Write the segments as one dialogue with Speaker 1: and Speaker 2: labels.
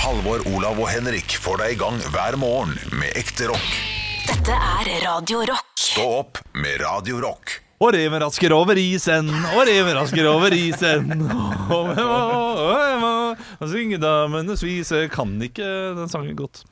Speaker 1: Halvor, Olav og Henrik får deg i gang hver morgen med ekte rock.
Speaker 2: Dette er Radio Rock.
Speaker 1: Stå opp med Radio Rock.
Speaker 3: Og reven rasker over isen, og reven rasker over isen. Og hvem var- og hvem var- og Syngedamenes vise kan ikke den sangen godt.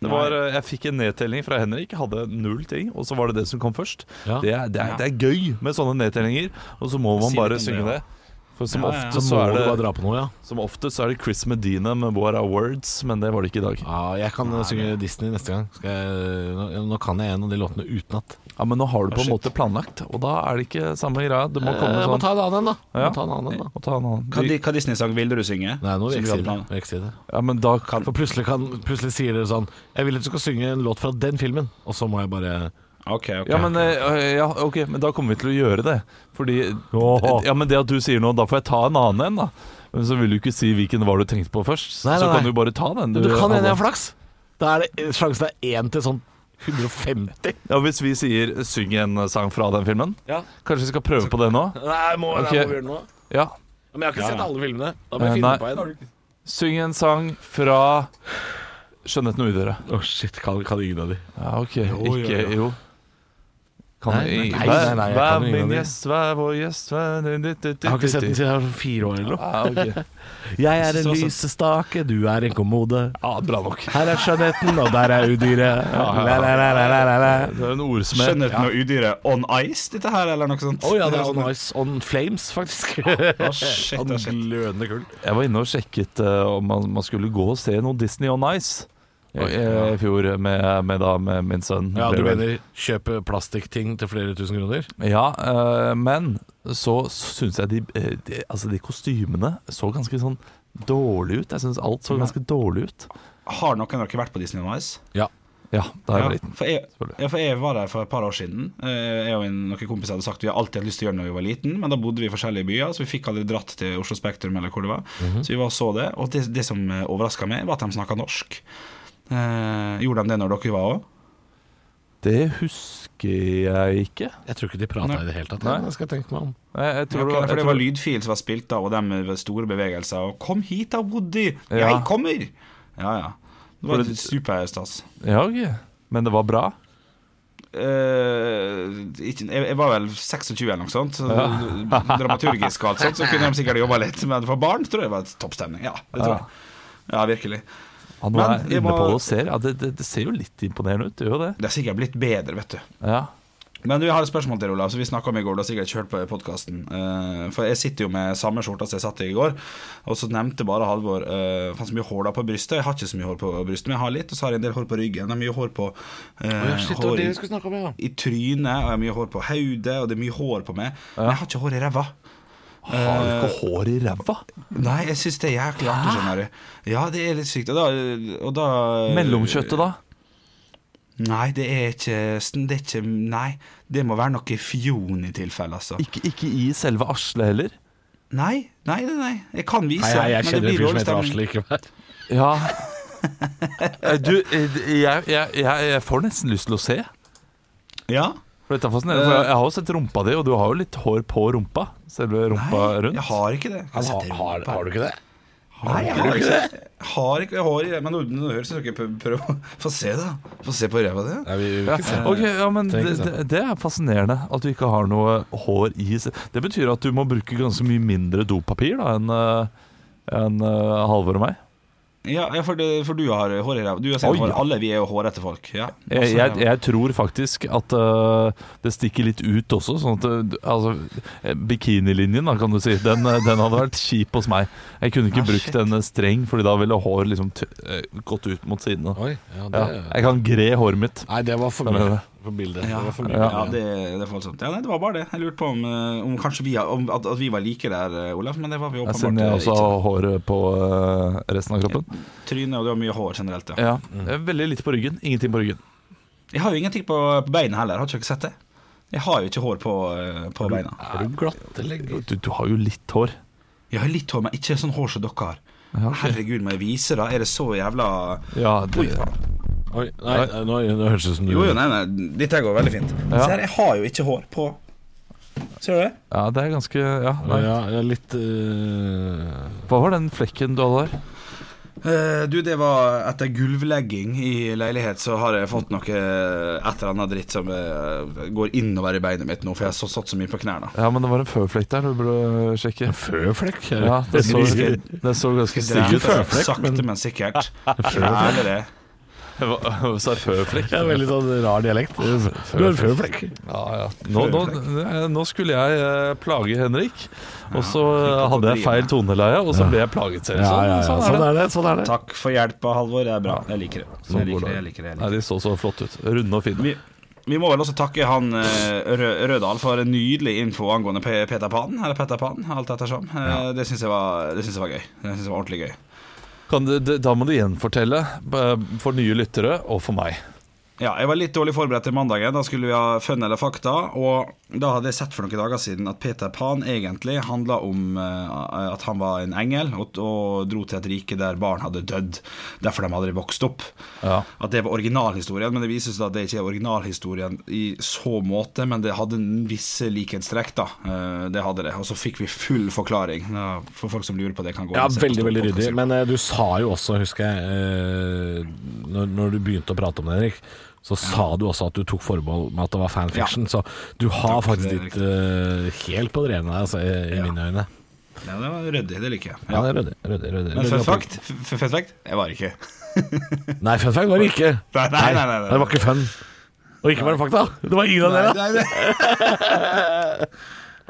Speaker 3: Det var, eh, jeg fikk en nedtelling fra Henrik, hadde null ting, og så var det det som kom først.
Speaker 4: Ja.
Speaker 3: Det, er, det, er, det er gøy med sånne nedtellinger, og så må man
Speaker 5: Si
Speaker 3: bare
Speaker 5: litt om det,
Speaker 3: synge
Speaker 5: ja.
Speaker 3: det. For som
Speaker 5: Ja, ja, ja.
Speaker 3: ofte
Speaker 4: Så
Speaker 3: så
Speaker 4: må
Speaker 3: er
Speaker 4: du bare
Speaker 3: det
Speaker 4: dra på noe, ja.
Speaker 3: Som ofte så er det Chris Medina med What Are Words, men det var det ikke i dag.
Speaker 4: ja jeg kan synge Disney neste gang. Skal jeg, nå, nå kan jeg en av de låtene utenat.
Speaker 3: Ja, Men nå har du på en
Speaker 5: shit.
Speaker 3: måte planlagt, og da er det ikke samme greia. Du må komme
Speaker 4: Eh, Jeg må
Speaker 3: sånn.
Speaker 4: ta en annen en, da. Jeg
Speaker 3: Ja.
Speaker 4: Må ta en annen en, da.
Speaker 3: Må ta en annen.
Speaker 5: Hva, di- hva Disney-sang ville du synge?
Speaker 4: Nei, nå
Speaker 5: Som du hadde planer.
Speaker 4: vekser jeg det.
Speaker 3: Ja, men da kan
Speaker 4: For plutselig, kan, plutselig sier dere sånn Jeg vil at du skal synge en låt fra den filmen. Og så må jeg bare
Speaker 5: Ok, ok.
Speaker 3: Ja, men, eh, ja, ok, men da kommer vi til å gjøre det. Fordi eh,
Speaker 4: Åh.
Speaker 3: Ja, men det at du sier noe, da får jeg ta en annen en, da. Men så vil du ikke si hvilken var du tenkte på først.
Speaker 4: Nei, nei,
Speaker 3: så
Speaker 4: nei.
Speaker 3: kan du bare ta den.
Speaker 4: Du kan hende jeg har
Speaker 3: Halvor.
Speaker 4: flaks! Da er det sjansen det er én til sånn 150.
Speaker 3: ja, Hvis vi sier 'syng en sang fra den filmen', kanskje vi skal prøve på det nå?
Speaker 4: Nei, må,
Speaker 3: Ok.
Speaker 4: jeg må gjøre noe.
Speaker 3: Ja.
Speaker 4: Men jeg har ikke
Speaker 5: Ja,
Speaker 4: sett
Speaker 5: ja.
Speaker 4: alle filmene. Da må jeg
Speaker 3: Eh,
Speaker 4: finne
Speaker 3: nei.
Speaker 4: på en.
Speaker 3: Syng en sang fra 'Skjønnheten og udøret'.
Speaker 4: Å shit, kan, kan ingen av de.
Speaker 3: Ja, OK.
Speaker 4: jo,
Speaker 3: Ikke
Speaker 4: jo.
Speaker 3: Jo. Kan
Speaker 4: Nei,
Speaker 3: jeg-
Speaker 4: nei, nei, nei, jeg
Speaker 3: Vær
Speaker 4: kan ingen av
Speaker 3: min
Speaker 4: de.
Speaker 3: gjest, vær vår gjest vær din- ditt, ditt,
Speaker 4: Jeg har ikke
Speaker 3: ditt,
Speaker 4: sett den
Speaker 3: ditt.
Speaker 4: siden jeg var sånn fire år eller noe.
Speaker 3: Ja, ok.
Speaker 4: Jeg er en
Speaker 5: Så- så-
Speaker 4: lysestake, du er en kommode.
Speaker 3: ja, bra nok.
Speaker 4: Her er skjønnheten, og der er udyret.
Speaker 3: ja, ja.
Speaker 4: La, la, la, la, la, la.
Speaker 3: Det er en ordsmed.
Speaker 5: Skjønnheten og udyret On Ice, dette her, eller noe sånt? sånn-
Speaker 4: Å ja, det er On Ice On Flames, faktisk.
Speaker 5: Å, shit, å, shit.
Speaker 4: glødende kull.
Speaker 3: Jeg var inne og sjekket eh, om man, man skulle gå og se noe Disney on Ice i,
Speaker 4: Oi,
Speaker 3: i,
Speaker 4: ja.
Speaker 3: i fjor med, med, da, med min sønn.
Speaker 4: Ja, du mener kjøpe plastikkting til flere tusen kroner?
Speaker 3: Ja, eh, men så syns jeg de, eh, de, altså de kostymene så ganske sånn dårlig ut. Jeg syns alt så ganske dårlig ut.
Speaker 5: Har noen av dere vært på Disney On Ice?
Speaker 4: Ja.
Speaker 3: Ja, da jeg var liten.
Speaker 5: for, jeg,
Speaker 3: selvfølgelig.
Speaker 5: ja, for jeg var der for et par år siden. Eh, Jeg og en, noen kompiser hadde sagt vi har alltid hatt lyst til å gjøre det når vi var liten, men da bodde vi i forskjellige byer, så vi fikk aldri dratt til Oslo Spektrum eller hvor det var.
Speaker 4: Mhm.
Speaker 5: Så vi var og så det, og det, det som overraska meg, var at de snakka norsk. Eh, gjorde de det når dere var òg?
Speaker 3: Det husker jeg ikke.
Speaker 4: Jeg tror ikke de prata
Speaker 5: Nei.
Speaker 4: i det hele tatt.
Speaker 3: Nei.
Speaker 4: Det skal jeg tenke meg om.
Speaker 3: Jeg, jeg
Speaker 5: Ja,
Speaker 3: tror
Speaker 5: ok,
Speaker 3: det var,
Speaker 5: for
Speaker 3: jeg
Speaker 5: det var
Speaker 3: tror,
Speaker 5: lydfil som var spilt av, og de med store bevegelser. Og 'Kom hit da, Woody!
Speaker 3: Ja.
Speaker 5: Jeg kommer!' Ja, ja. Det var
Speaker 3: For det-
Speaker 5: superstas.
Speaker 3: ja, ok. Men det var bra.
Speaker 5: Eh, ikke, jeg, jeg var vel 26 eller noe sånt. Så Dramaturgisk og alt sånt, så kunne de sikkert jobba litt. Men for barn tror jeg det var topp stemning. Ja, det tror
Speaker 3: Ja.
Speaker 5: jeg. Ja, virkelig.
Speaker 3: Han
Speaker 5: Men
Speaker 3: er
Speaker 5: jeg
Speaker 3: inne
Speaker 5: må-
Speaker 3: på det og ser. Ja, det, det, det ser jo litt imponerende ut, det gjør jo det.
Speaker 5: Det er sikkert blitt bedre, vet du.
Speaker 3: Ja.
Speaker 5: Men vi har et spørsmål til, Olav, som vi snakka om i går. Du har sikkert hørt på podkasten. for jeg sitter jo med samme skjorta som jeg satt i i går, og så nevnte bare Halvor uh, Han har så mye hår da på brystet. Jeg har ikke så mye hår på brystet, men jeg har litt, og så har jeg en del hår på ryggen. Det er mye hår på eh, hår i,
Speaker 4: snakke om, ja.
Speaker 5: i trynet, og jeg har mye hår på hodet, og det er mye hår på meg. Men jeg har ikke hår i ræva.
Speaker 3: Har du ikke hår i ræva?
Speaker 5: Nei, jeg syns det er jæklig
Speaker 4: Ah.
Speaker 5: artig, skjønner du. Ja, det er litt sykt. Og da, og da
Speaker 3: Mellomkjøttet, da?
Speaker 5: Nei, det er ikke Det er ikke Nei. Det må være noe fjon i tilfelle, altså.
Speaker 3: Ikke, ikke i selve Asle heller?
Speaker 5: Nei, nei, nei, nei. Jeg kan vise,
Speaker 4: Nei, jeg, jeg
Speaker 5: men
Speaker 4: kjenner
Speaker 5: det
Speaker 4: en
Speaker 5: blir
Speaker 4: fyr som
Speaker 5: dårlig
Speaker 4: heter
Speaker 5: stemning.
Speaker 4: Asle
Speaker 3: Ja.
Speaker 4: likevel.
Speaker 3: Du, eh, jeg, jeg, jeg, jeg får nesten lyst til å se.
Speaker 5: Ja,
Speaker 3: For dette er fascinerende, for jeg, jeg har jo sett rumpa di, og du har jo litt hår på rumpa. Selve rumpa rundt.
Speaker 5: jeg har ikke det.
Speaker 4: Har, har, har du ikke det?
Speaker 5: Nei, jeg har ikke det. Jeg Har ikke, jeg har i det, men nå, nå høres det ikke Prøv Få se, da. Få se på ræva di. da.
Speaker 4: Nei, vi, vi,
Speaker 3: Ja,
Speaker 4: vil ikke se.
Speaker 3: ok, ja, men det,
Speaker 4: Trenger ikke se.
Speaker 3: det- det er fascinerende at du ikke har noe hår i se- Det betyr at du må bruke ganske mye mindre dopapir da enn eh, enn, eh, Halvor og meg.
Speaker 5: Ja, ja, for, det, for du har hår i ræva. Du har
Speaker 3: Oi,
Speaker 5: sett hår.
Speaker 3: ja.
Speaker 5: Alle vi er jo hårete folk. Ja.
Speaker 3: Jeg, jeg,
Speaker 5: Altså,
Speaker 3: jeg tror faktisk at eh, det stikker litt ut også. Sånn at eh, du- altså, eh, Bikinilinjen, da, kan du si. Den, eh, den hadde vært kjip hos meg. Jeg kunne ikke
Speaker 5: Ah,
Speaker 3: brukt
Speaker 5: shit.
Speaker 3: en eh, streng, Fordi da ville hår liksom t eh, gått ut mot sidene.
Speaker 4: Oi, ja,
Speaker 3: Ja,
Speaker 4: det,
Speaker 3: jeg kan gre håret mitt.
Speaker 4: Nei, det var for
Speaker 3: Det er
Speaker 4: mye
Speaker 3: det.
Speaker 4: på bildet.
Speaker 5: Ja.
Speaker 4: Det var for mye.
Speaker 5: Ja, det, det er voldsomt. Ja, nei, det var bare det. Jeg lurte på om, eh, om kanskje vi, om, at, at vi var like der, eh, Olaf, men det var vi
Speaker 3: Jeg
Speaker 5: åpenbart
Speaker 3: Siden jeg
Speaker 5: eh,
Speaker 3: også
Speaker 5: ikke.
Speaker 3: har håret på eh, resten av kroppen.
Speaker 5: Trynet, og du har mye hår generelt, ja.
Speaker 3: Ja, det er Veldig lite på ryggen. Ingenting på ryggen.
Speaker 5: Jeg har jo ingenting på, på beina heller, har ikke dere sett det? Jeg har jo ikke hår på, eh, på beina.
Speaker 4: Er du glatt eller
Speaker 3: Du, du har jo litt hår.
Speaker 5: Jeg har litt hår, men ikke sånn hår som dere har. Herregud, må jeg vise, da? Er det så jævla
Speaker 3: Ja, det,
Speaker 5: Oi, faen.
Speaker 4: Oi, nei, nei, nå, nå høres det ut som du
Speaker 5: Jo, jo, nei, nei, dette går veldig fint.
Speaker 3: Ja.
Speaker 5: Se her, jeg har jo ikke hår på Ser du det?
Speaker 3: ja, det er ganske ja, nei.
Speaker 4: Ja, ja, litt øh,
Speaker 3: Hva var den flekken du hadde der?
Speaker 5: Eh, du, det var etter gulvlegging i leilighet, så har jeg fått noe et eller annet dritt som eh, går innover i beinet mitt nå, for jeg har så- satt så mye på knærne.
Speaker 6: Ja, men det var en føflekk der du burde sjekke.
Speaker 4: Føflekk?
Speaker 6: Ja, det så,
Speaker 5: Ikke-
Speaker 6: det så ganske
Speaker 5: Det
Speaker 6: stygg
Speaker 5: er
Speaker 6: ut.
Speaker 4: føflekk,
Speaker 5: Sakte, men, sikkert.
Speaker 4: Føflekk.
Speaker 5: Ærlig det.
Speaker 3: Hva sa jeg? Føflekk?
Speaker 4: Ja, veldig sånn rar dialekt. Du har en føflekk.
Speaker 3: Nå, nå, nå skulle jeg eh, plage Henrik, og så eh, hadde jeg feil toneleie, og så ble jeg plaget selv.
Speaker 4: Ja, ja, ja.
Speaker 3: Sånn,
Speaker 4: Sånn
Speaker 3: sånn er det.
Speaker 4: er det. Sånn er det.
Speaker 5: Takk for hjelpa, Halvor. Det er bra. Jeg liker det. Jeg liker Sånn det, jeg liker det, jeg liker
Speaker 3: Sånn Nei,
Speaker 5: det.
Speaker 3: de så så flott ut. Runde og fine.
Speaker 5: Vi, vi må vel også takke han eh, Rø Rødahl for en nydelig info angående Pe- Peter Pan, eller Petter Pan, alt ettersom. Eh, Det syns jeg, var- det syns jeg var gøy. Det syns jeg var ordentlig gøy.
Speaker 3: Kan du, d- da må du gjenfortelle eh, for nye lyttere og for meg.
Speaker 5: Ja, jeg var litt dårlig forberedt til mandagen. Da skulle vi ha fun eller fakta. Og da hadde jeg sett for noen dager siden at Peter Pan egentlig handla om eh, at han var en engel og, og dro til et rike der barn hadde dødd. Derfor de aldri vokste opp.
Speaker 3: Ja.
Speaker 5: At det var originalhistorien, men det vises da at det ikke er originalhistorien i så måte, men det hadde en visse likhetstrekk, da. Eh, det hadde det. Og så fikk vi full forklaring. Ja, for folk som lurer på det, kan gå
Speaker 4: Ja,
Speaker 5: og se på
Speaker 4: veldig, veldig ryddig.
Speaker 5: podcasten.
Speaker 4: Men eh, du sa jo også, husker jeg, eh, når, når du begynte å prate om det, Henrik, så sa du også at du tok forbehold med at det var fanfiction. Så du har
Speaker 5: Takk,
Speaker 4: faktisk
Speaker 5: det er
Speaker 4: ditt eh, helt på det rene der, altså, i, i mine øyne.
Speaker 5: Ja, det var ryddig. Det liker jeg.
Speaker 4: Ja, det er ryddig. ryddig, ryddig,
Speaker 5: Men
Speaker 4: ryddig
Speaker 5: fun
Speaker 4: opplegg.
Speaker 5: fact, f- fun fact jeg var ikke
Speaker 4: Nei, fun fact var det ikke.
Speaker 5: Nei, nei, nei, nei, nei.
Speaker 4: Det var ikke fun. Og ikke var det fakta. Det var ingen av dere.
Speaker 5: nei, nei.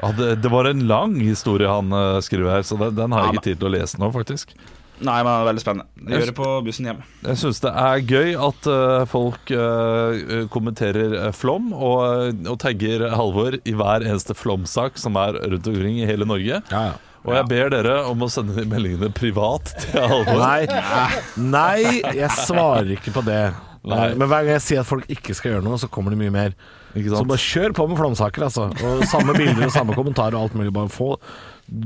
Speaker 3: Ja, det, det var en lang historie han eh, skriver her, så den, den har
Speaker 5: Ja,
Speaker 3: jeg ikke tid til å lese nå, faktisk.
Speaker 5: Nei, men det er veldig spennende. Jeg gjør det på bussen hjem.
Speaker 3: Jeg syns det er gøy at eh, folk eh, kommenterer eh, Flom og, eh, og tagger Halvor i hver eneste Flom-sak som er rundt omkring i hele Norge.
Speaker 4: Ja, ja.
Speaker 3: Og jeg ber dere om å sende de meldingene privat til Halvor.
Speaker 4: Nei, nei, jeg svarer ikke på det. Eh,
Speaker 3: Nei.
Speaker 4: Men hver gang jeg sier at folk ikke skal gjøre noe, så kommer det mye mer.
Speaker 3: Ikke
Speaker 4: Så
Speaker 3: sant?
Speaker 4: bare kjør på med flomsaker, altså. Og samme bilder og samme kommentarer og alt mulig. Bare få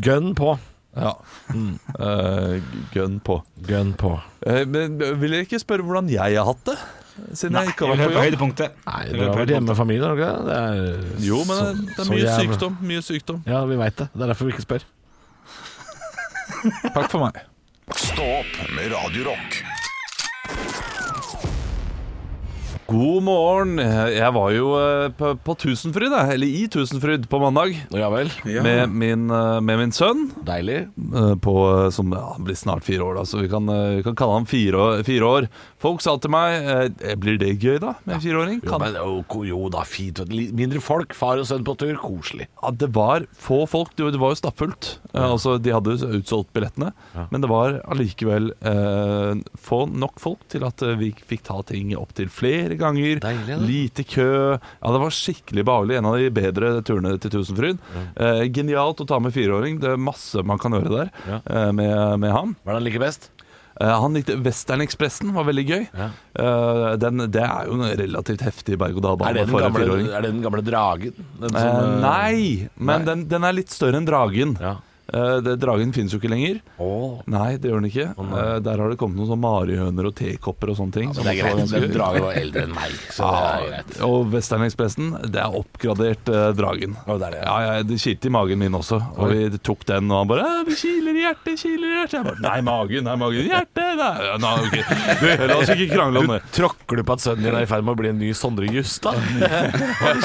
Speaker 4: gønn på.
Speaker 3: Ja.
Speaker 4: Mm.
Speaker 3: Eh, gønn på.
Speaker 4: Gønn på.
Speaker 3: Eh, men vil dere ikke spørre hvordan jeg har hatt det? Siden
Speaker 5: Nei,
Speaker 3: jeg
Speaker 5: jeg
Speaker 3: ikke
Speaker 5: vil
Speaker 3: har vært
Speaker 5: høre
Speaker 3: på
Speaker 5: på
Speaker 3: jobb.
Speaker 5: høydepunktet.
Speaker 4: Nei,
Speaker 5: Jeg
Speaker 4: du
Speaker 5: vil
Speaker 4: har
Speaker 5: høre på
Speaker 4: vært
Speaker 5: høydepunktet.
Speaker 4: hjemme med familien, har du ikke det? Det er
Speaker 3: Jo, men det,
Speaker 4: så-
Speaker 3: det er
Speaker 4: så
Speaker 3: mye
Speaker 4: jævlig.
Speaker 3: sykdom. Mye sykdom.
Speaker 4: Ja, vi veit det. Det er derfor vi ikke spør.
Speaker 3: Takk for meg.
Speaker 1: Stå opp med Radio Rock.
Speaker 3: God morgen. Jeg var jo eh, på, på Tusenfryd, jeg. eller i Tusenfryd på mandag.
Speaker 4: Ja vel.
Speaker 3: Med, min, eh, med min sønn,
Speaker 4: Deilig.
Speaker 3: eh, på, eh, som ja, han blir snart fire år, da, så vi kan, eh, vi kan kalle han fire, år- fire år. Folk sa til meg eh, Blir det gøy, da, med en fireåring?
Speaker 4: Jo,
Speaker 3: Kan-
Speaker 4: men, jo, ko- jo da, fint. vet du. Litt Mindre folk, far og sønn på tur, koselig.
Speaker 3: Ja, det var få folk. Det var- det var jo stappfullt. Eh, Altså, de hadde jo utsolgt billettene. Men det var allikevel eh, få nok folk til at eh, vi fikk ta ting opptil flere ganger.
Speaker 4: Deilig, da.
Speaker 3: Lite kø. Ja, det var skikkelig behagelig. En av de bedre turene til Tusenfryd. Eh, genialt å ta med fireåring. Det er masse man kan gjøre der eh, med, med han.
Speaker 4: Hva er det han liker best?
Speaker 3: Eh, Han likte Westernekspressen, var veldig gøy. Eh, Den, det er jo en relativt heftig
Speaker 4: Er
Speaker 3: berg-og-dal-bane
Speaker 4: det, den
Speaker 3: for en fireåring.
Speaker 4: gamle, er det den gamle dragen? Den som,
Speaker 3: Eh,
Speaker 4: eh,
Speaker 3: nei, men
Speaker 4: nei.
Speaker 3: Den, den er litt større enn dragen.
Speaker 4: Ja.
Speaker 3: Eh, det, dragen finnes jo ikke lenger.
Speaker 4: Åh.
Speaker 3: Nei, det gjør den ikke. Eh, der har det kommet noen sånn marihøner og tekopper og sånne ting. som
Speaker 4: Det
Speaker 3: også var
Speaker 4: er greit. Ah.
Speaker 3: ganske
Speaker 4: Den
Speaker 3: gøy.
Speaker 4: dragen var eldre enn meg, så det er greit.
Speaker 3: Ja, og Westernekspressen, det er oppgradert eh, dragen.
Speaker 4: Å, det er det,
Speaker 3: ja.
Speaker 4: ja.
Speaker 3: Ja, det kilte i magen min også. Og vi tok den, og han bare «Æ, 'Vi kiler i hjertet, kiler i hjertet'. Jeg bare, nei, magen, nei, magen. Hjertet, nei. Ja, nei ok. Du, la oss ikke krangle om det.
Speaker 4: Tråkker du på at sønnen din er i ferd med å bli en ny Sondre Justad?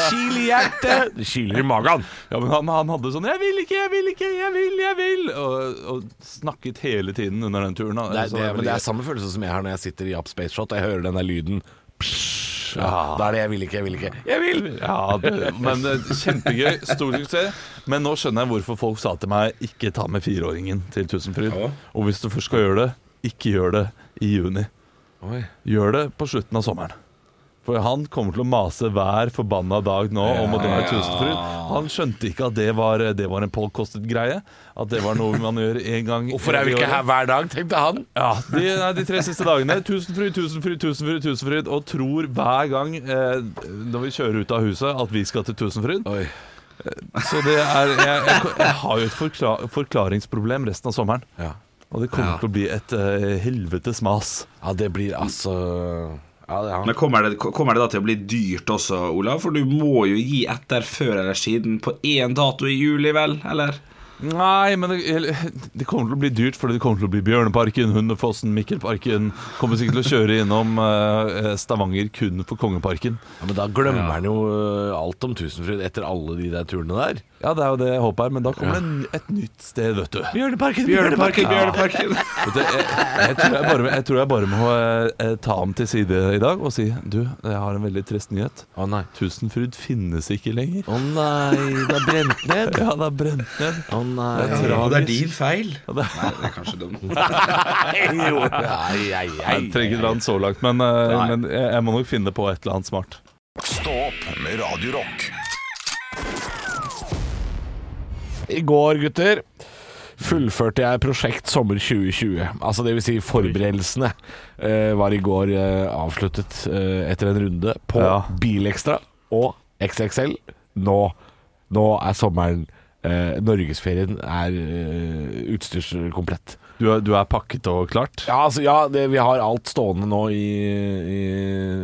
Speaker 4: Kil i hjertet! Det kiler i magen.
Speaker 3: Ja, men han, han hadde sånn 'Jeg vil ikke, jeg vil ikke, jeg vil, jeg vil' og, og snakket hele tiden under den turen. da.
Speaker 4: Det er,
Speaker 3: Så
Speaker 4: det,
Speaker 3: var
Speaker 4: men det
Speaker 3: veldig
Speaker 4: er samme følelse som jeg har når jeg sitter i Up Space Shot og jeg hører den der lyden. Psh, ja. Da er det 'jeg vil ikke, jeg vil ikke'. Jeg vil!
Speaker 3: Ja, det, men eh, kjempegøy, stor suksess. Men nå skjønner jeg hvorfor folk sa til meg ikke ta med fireåringen til Tusenfryd. Og hvis du først skal gjøre det, ikke gjør det i juni.
Speaker 4: Oi.
Speaker 3: Gjør det på slutten av sommeren. For han kommer til å mase hver forbanna dag nå om å dra i Tusenfryd. Han skjønte ikke at det var, det var en påkostet greie. At det var noe man gjør én gang
Speaker 4: Hvorfor er vi
Speaker 3: i
Speaker 4: ikke
Speaker 3: året.
Speaker 4: her hver dag, tenkte han.
Speaker 3: Ja, de, nei, de tre siste dagene. Tusenfryd, Tusenfryd, Tusenfryd, Tusenfryd. Og tror hver gang eh, når vi kjører ut av huset at vi skal til Tusenfryd.
Speaker 4: Oi.
Speaker 3: Så det er, jeg, jeg, jeg har jo et forkla, forklaringsproblem resten av sommeren.
Speaker 4: Ja.
Speaker 3: Og det kommer til å bli et eh, helvetes mas.
Speaker 4: ja, det blir altså ja, det,
Speaker 5: Men
Speaker 4: ja.
Speaker 5: kommer det, kommer det da til å bli dyrt også, Olav? For du må jo gi etter før eller siden på én dato i juli, vel? Eller?
Speaker 3: Nei, men det, eller, det kommer til å bli dyrt, fordi det kommer til å bli Bjørneparken, Hundefossen, Mikkelparken. Kommer sikkert til å kjøre innom eh, Stavanger kun for Kongeparken.
Speaker 4: Ja, men da glemmer han jo eh, alt om Tusenfryd etter alle de der turene der.
Speaker 3: Ja, det er jo det jeg håper, men da kommer det en, et nytt sted, vet du.
Speaker 4: Bjørneparken,
Speaker 5: Bjørneparken.
Speaker 3: Vet du, jeg, jeg, tror jeg, bare, jeg tror jeg bare må eh, ta ham til side i dag og si Du, jeg har en veldig trist nyhet.
Speaker 4: Å nei.
Speaker 3: Tusenfryd finnes ikke lenger.
Speaker 4: Å nei, det er brent ned.
Speaker 3: Ja, det er brent ned.
Speaker 4: Å nei.
Speaker 3: Det er tragisk.
Speaker 5: din feil. Nei, det er kanskje dumt.
Speaker 4: Ai, ai, ai.
Speaker 3: Jeg trenger ikke dra den så langt, men, eh, men jeg, jeg må nok finne på et eller annet smart.
Speaker 1: Stå opp med Radio Rock.
Speaker 4: I går, gutter, fullførte jeg prosjekt sommer 2020. Altså det vil si forberedelsene eh, var i går eh, avsluttet eh, etter en runde på
Speaker 3: Ja.
Speaker 4: Bilekstra og XXL. Nå, nå er sommeren eh, Norgesferien er eh, utstyrskomplett.
Speaker 3: Du er, du er pakket og klart?
Speaker 4: Ja, altså, ja det, vi har alt stående nå i, i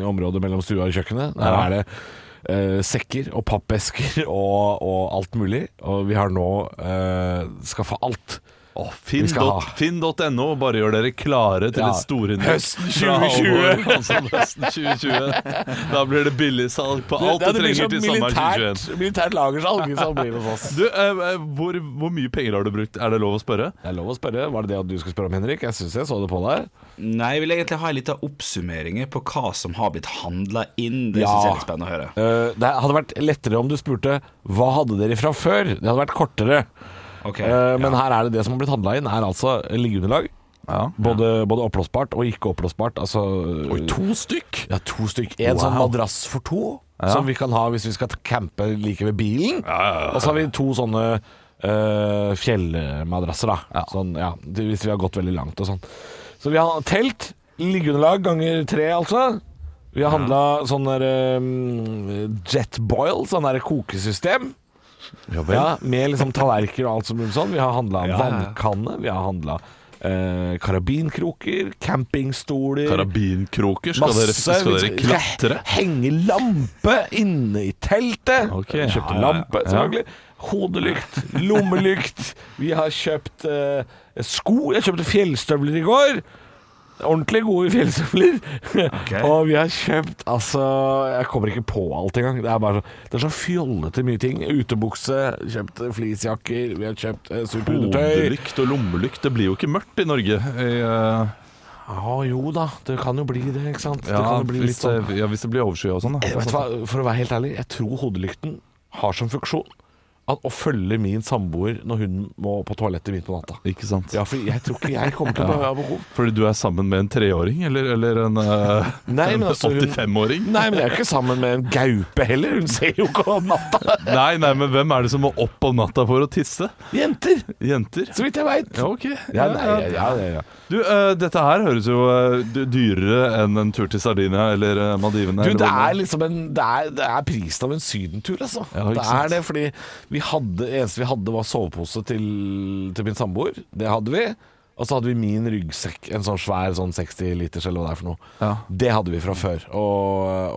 Speaker 4: området mellom stua og kjøkkenet. Der
Speaker 3: Ja.
Speaker 4: er det eh, sekker og pappesker og, og alt mulig. Og vi har nå uh, skaffa alt.
Speaker 3: Åh,
Speaker 4: Vi skal
Speaker 3: Finn.no,
Speaker 4: ha.
Speaker 3: Finn.no, bare gjør dere klare til
Speaker 4: Ja.
Speaker 3: et storinnkjøp.
Speaker 4: Høsten
Speaker 3: fra
Speaker 4: 2020.
Speaker 3: Halvor Hansson, høsten 2020. Da blir det billigsalg på alt
Speaker 4: Ja, sånn
Speaker 3: du trenger til sommeren
Speaker 4: militært,
Speaker 3: 2021.
Speaker 4: militært lagersalg som blir det hos oss.
Speaker 3: Du, eh, eh, hvor, hvor mye penger har du brukt? Er det lov å spørre?
Speaker 4: Det er lov å spørre. Var det det at du skulle spørre om, Henrik? Jeg syns jeg så det på deg.
Speaker 5: Nei, jeg vil egentlig ha en liten oppsummering på hva som har blitt handla inn. Det
Speaker 4: Ja.
Speaker 5: synes jeg er litt spennende å høre.
Speaker 4: Eh, det hadde vært lettere om du spurte hva hadde dere fra før? Det hadde vært kortere.
Speaker 5: Ok,
Speaker 4: Eh, men her er det det som har blitt handla inn, er altså liggeunderlag. Både, både oppblåsbart og ikke oppblåsbart. Altså
Speaker 3: to stykk?
Speaker 4: ja, to stykk. En sånn madrass for to, som vi kan ha hvis vi skal campe like ved bilen. Og så har vi to sånne eh, fjellmadrasser, da. Sånn, ja, det- hvis vi har gått veldig langt og sånn. Så vi har telt, liggeunderlag ganger tre, altså. Vi har handla sånn der um, jetboil, sånn der kokesystem.
Speaker 3: Ja vel.
Speaker 4: Ja, med liksom tallerkener og alt som mulig sånn. Vi har
Speaker 5: Ja,
Speaker 4: handla
Speaker 5: ja, ja.
Speaker 4: vannkanne, vi har handla eh, karabinkroker, campingstoler
Speaker 3: Karabinkroker? Skal dere, skal dere klatre?
Speaker 4: Henge lampe inne i teltet.
Speaker 3: Ok.
Speaker 4: Kjøpte
Speaker 3: Ja, ja, ja.
Speaker 4: lampe, selvfølgelig. Hodelykt, lommelykt. Vi har kjøpt eh, sko. Jeg kjøpte fjellstøvler i går. Ordentlig gode fjellstøvler. Og vi har kjøpt altså Jeg kommer ikke på alt engang. Det er bare så, det er så fjollete mye ting. Utebukse, kjøpt fleecejakker, vi har kjøpt uh, superundertøy.
Speaker 3: Hodelykt og lommelykt, det blir jo ikke mørkt i Norge. Eh,
Speaker 4: Ja, jo da, det kan jo bli det, ikke sant?
Speaker 3: ja,
Speaker 4: det kan jo bli sånn-
Speaker 3: hvis, eh, det- ja, hvis det blir overskyet og sånn. da.
Speaker 4: Eh, Vet du hva, For å være helt ærlig, jeg tror hodelykten har som funksjon at å følge min samboer når hun må på toalettet midt på natta.
Speaker 3: Ikke sant?
Speaker 4: Ja, for jeg tror ikke jeg kommer til å ha behov.
Speaker 3: Fordi du er sammen med en treåring, eller, eller en, eh,
Speaker 4: Nei,
Speaker 3: en
Speaker 4: men altså, hun-
Speaker 3: 85-åring?
Speaker 4: Nei, men jeg er jo ikke sammen med en gaupe heller. Hun ser jo ikke om natta.
Speaker 3: Nei, nei, men hvem er det som må opp om natta for å tisse?
Speaker 4: Jenter,
Speaker 3: Jenter?
Speaker 4: så vidt jeg veit.
Speaker 3: Ja, ok.
Speaker 4: Ja, nei, ja, ja, ja, ja.
Speaker 3: Du, eh, dette her høres jo eh, d- dyrere enn en tur til Sardinia eller eh, Maldivene.
Speaker 4: Du,
Speaker 3: eller
Speaker 4: det
Speaker 3: hvor
Speaker 4: er liksom en Det er, det er prisen av en sydentur, altså.
Speaker 3: Ja, ikke
Speaker 4: det
Speaker 3: sant?
Speaker 4: er det, fordi vi hadde Det eneste vi hadde, var sovepose til, til min samboer. Det hadde vi. Og så hadde vi min ryggsekk, en sånn svær sånn 60 liters eller hva det er for noe.
Speaker 3: Ja.
Speaker 4: Det hadde vi fra før. Og,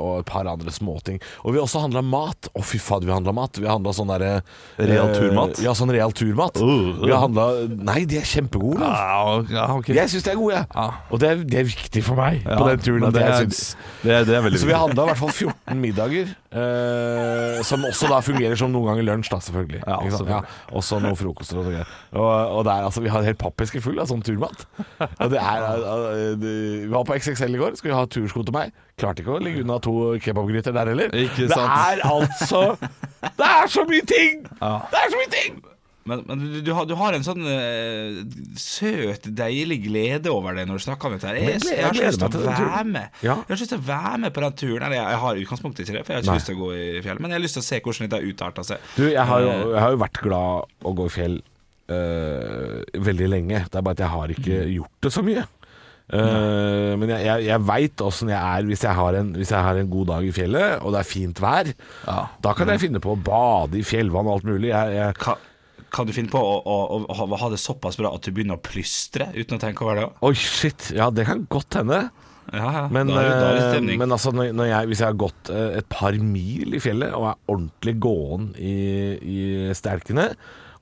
Speaker 4: og et par andre småting. Og vi også handla mat. Å, fy fader, vi handla mat. Vi handla sånn derre
Speaker 3: Real turmat?
Speaker 4: eh, Ja, sånn real turmat.
Speaker 3: Uh, Ah. uh.
Speaker 4: Vi handla Nei, de er kjempegode. Olav.
Speaker 3: Ja, ja, ok.
Speaker 4: Jeg syns de er gode, jeg.
Speaker 3: Ja.
Speaker 4: Og det er, det er viktig for meg
Speaker 3: Ah. Ja,
Speaker 4: på den turen.
Speaker 3: men
Speaker 4: at
Speaker 3: det,
Speaker 4: jeg
Speaker 3: er,
Speaker 4: synes
Speaker 3: det, er, det er veldig
Speaker 4: så vi
Speaker 3: viktig.
Speaker 4: handla i hvert fall 14 middager, eh, som også da fungerer som noen ganger lunsj, da, selvfølgelig.
Speaker 3: Ja,
Speaker 4: Ikke sant?
Speaker 3: selvfølgelig.
Speaker 4: Ja, også noen frokoster og sånn greier. Og, og det er, altså, vi har en hel pappeske full av sånn turmat. Og det er, eh, det, vi var på XXL i går, skulle ha tursko til meg. Klarte ikke å legge unna to kebabgryter der heller.
Speaker 3: Ikke
Speaker 4: det
Speaker 3: sant.
Speaker 4: er altså Det er så mye ting! Det er så mye ting!
Speaker 5: Men, men du, du, har, du har en sånn eh, søt, deilig glede over deg når du snakker om dette. her. Jeg,
Speaker 4: Men jeg-
Speaker 5: jeg, har så
Speaker 4: jeg
Speaker 5: lyst
Speaker 4: gleder
Speaker 5: til å
Speaker 4: meg til den
Speaker 5: være
Speaker 4: turen.
Speaker 5: med
Speaker 4: Ja.
Speaker 5: Jeg har så lyst til å være med på den turen. Eller, jeg, jeg har i utgangspunktet ikke det, for jeg har ikke
Speaker 4: Nei.
Speaker 5: lyst til å gå i fjellet. Men jeg har lyst til å se hvordan det har utarta seg. Eh,
Speaker 4: Du, jeg har, jo, jeg har jo vært glad å gå i fjell øh, veldig lenge. Det er bare at jeg har ikke gjort det så mye. Øh, men jeg, jeg, jeg veit åssen jeg er hvis jeg, har en, hvis jeg har en god dag i fjellet, og det er fint vær. Da kan jeg finne på å bade i fjellvann og alt mulig. Jeg, jeg,
Speaker 5: Ka, kan du finne på å, å, å, ha- ha det såpass bra at du begynner å plystre uten å tenke over det òg?
Speaker 4: Oi, shit. Ja, det kan godt hende.
Speaker 5: Ja, ja.
Speaker 4: Men,
Speaker 5: da er det, da er det
Speaker 4: eh,
Speaker 5: stemning.
Speaker 4: men altså, når, når jeg, hvis jeg har gått eh, et par mil i fjellet og er ordentlig gåen i, i stelkene,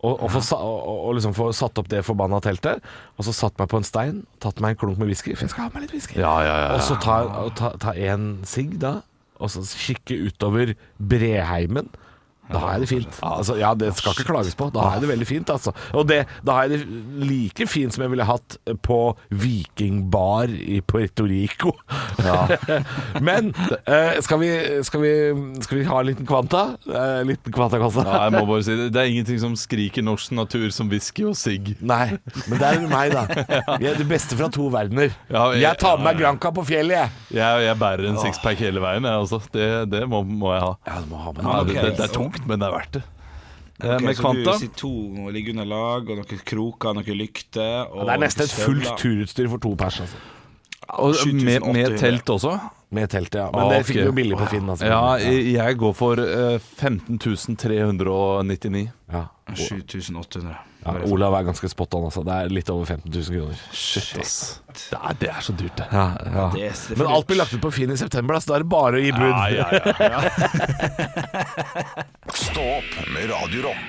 Speaker 4: og, og, få sa, og, og liksom få satt opp det forbanna teltet. Og så satt meg på en stein, tatt meg en klunk med whisky, for jeg skal ha meg litt whisky.
Speaker 3: Ja, ja, ja, ja.
Speaker 4: Og så ta, og ta, ta en sigg da, og så kikke utover Breheimen. Da har jeg det fint. Altså, ja, Det skal ikke klages på. Da har jeg det veldig fint. Altså. Og det, da har jeg det like fint som jeg ville hatt på vikingbar i Puerto Rico. Men eh, skal, vi, skal, vi, skal vi ha en liten kvanta? Eh, liten kvantakasse?
Speaker 3: Nei, jeg må bare si det. Det er ingenting som skriker norsk natur som whisky og sigg.
Speaker 4: Nei, men det er meg, da. Vi er det beste fra to verdener.
Speaker 3: Ja, jeg-
Speaker 4: Jeg tar med meg Granca på fjellet, jeg.
Speaker 3: Jeg, jeg bærer en sixpack hele veien, jeg også. Det, det må, må jeg ha.
Speaker 4: Ja, du må ha med
Speaker 3: Ja,
Speaker 5: ok.
Speaker 3: det, det, det er tungt, men det er verdt det. Eh,
Speaker 5: Ok,
Speaker 3: med
Speaker 5: så
Speaker 3: kvanta
Speaker 5: du sier to noe liggeunderlag, og noen kroker, noen lykter og
Speaker 4: Det er nesten et
Speaker 5: noen
Speaker 4: fullt
Speaker 5: støvler.
Speaker 4: turutstyr for to pers, altså.
Speaker 3: og med,
Speaker 5: 7800.
Speaker 3: med telt også.
Speaker 4: Med teltet, ja. Men
Speaker 3: Ah,
Speaker 4: det fikk
Speaker 3: ok.
Speaker 4: du jo billig på Finn. Altså.
Speaker 3: Ja, jeg, jeg går for eh, 15.399
Speaker 4: Ja.
Speaker 5: 7800.
Speaker 4: Ja, Olav er ganske spot on, altså. Det er litt over 15 000 kroner.
Speaker 3: Shit, ass. Det er, det er så dyrt, det.
Speaker 4: Ja, ja.
Speaker 5: Det er selvfølgelig-
Speaker 4: Men alt blir lagt ut på Finn i september, da, så da er det bare å gi bud.
Speaker 3: Ja, ja, ja.
Speaker 1: Stå opp med Radio Rock.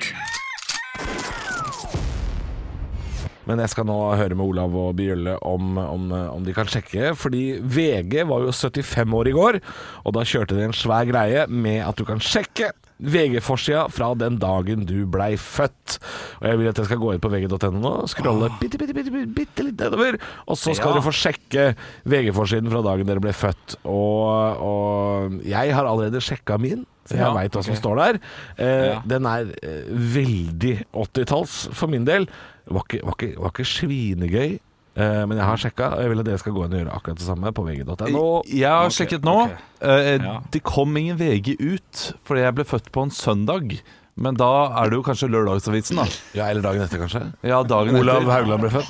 Speaker 4: Men jeg skal nå høre med Olav og Bjølle om, om, om de kan sjekke. Fordi VG var jo 75 år i går, og da kjørte de en svær greie med at du kan sjekke VG-forsida fra den dagen du blei født. Og jeg vil at jeg skal gå inn på vg.no nå, scrolle bitte, bitte, bitte, bitte, bitte litt nedover, og så skal
Speaker 5: Ah. Ja.
Speaker 4: du få sjekke VG-forsiden fra dagen dere ble født. Og, og jeg har allerede sjekka min. Så jeg
Speaker 5: Ja,
Speaker 4: veit hva som
Speaker 5: ok.
Speaker 4: står der. Eh,
Speaker 5: Ja.
Speaker 4: Den er eh, veldig 80-talls for min del. Var ikke, var ikke, var ikke svinegøy, eh, men jeg har sjekka, og jeg vil at dere skal gå inn og gjøre akkurat det samme på vg.no.
Speaker 3: Jeg har sjekket nå.
Speaker 5: ok.
Speaker 3: Eh,
Speaker 5: Ja.
Speaker 3: Det kom ingen VG ut, fordi jeg ble født på en søndag. Men da er det jo kanskje Lørdagsavisen, da.
Speaker 4: Ja, eller dagen etter, kanskje.
Speaker 3: Ja, dagen
Speaker 4: Olav
Speaker 3: etter.
Speaker 4: Haugland ble født.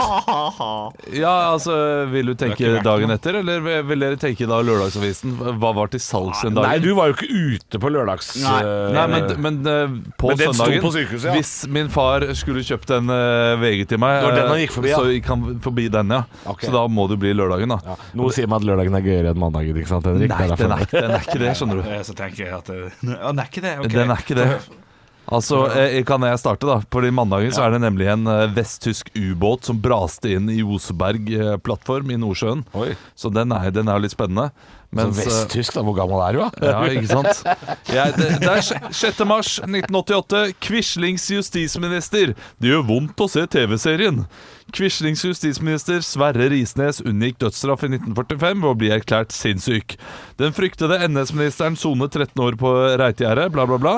Speaker 3: Ja, altså, Vil du
Speaker 5: Det
Speaker 3: tenke
Speaker 5: har ikke vært
Speaker 3: dagen etter, eller vil dere tenke da Lørdagsavisen? Hva var til salgs den dagen?
Speaker 4: Nei, du var jo ikke ute på lørdags...
Speaker 5: Nei.
Speaker 4: eh,
Speaker 3: Nei, men, men eh, på
Speaker 4: Men den sto
Speaker 3: søndagen
Speaker 4: på sykehuset, ja.
Speaker 3: Hvis min far skulle kjøpt en eh, VG til meg,
Speaker 4: Når den
Speaker 3: eh,
Speaker 4: han gikk forbi, ja.
Speaker 3: så gikk han forbi den, ja.
Speaker 4: Ok.
Speaker 3: Så da må det bli lørdagen, da.
Speaker 4: ja. Noe sier meg at lørdagen er gøyere enn mandagen, ikke sant, Henrik?
Speaker 3: Nei,
Speaker 4: Det er
Speaker 3: den
Speaker 4: derfor.
Speaker 3: er, den er ikke det, skjønner du.
Speaker 5: Eh, Så tenker jeg at det- Ja, Den er ikke det. ok.
Speaker 3: Den er ikke det. Altså, eh, Kan jeg starte, da? På de mandagen så er det nemlig en eh, vesttysk ubåt som braste inn i Oseberg eh, plattform i Nordsjøen.
Speaker 4: Oi.
Speaker 3: Så den er, den er jo litt spennende.
Speaker 4: Så
Speaker 3: Mens, eh,
Speaker 4: vesttysk, da. Hvor gammel er du, da?
Speaker 3: Ja, ikke sant? Jeg, det, det er sj- 6. mars 1988. Quislings justisminister. Det gjør vondt å se TV-serien. Quislings justisminister Sverre Risnes unngikk dødsstraff i 1945 ved å bli erklært sinnssyk. Den fryktede NS-ministeren sonet 13 år på Reitegjerdet, bla, bla, bla.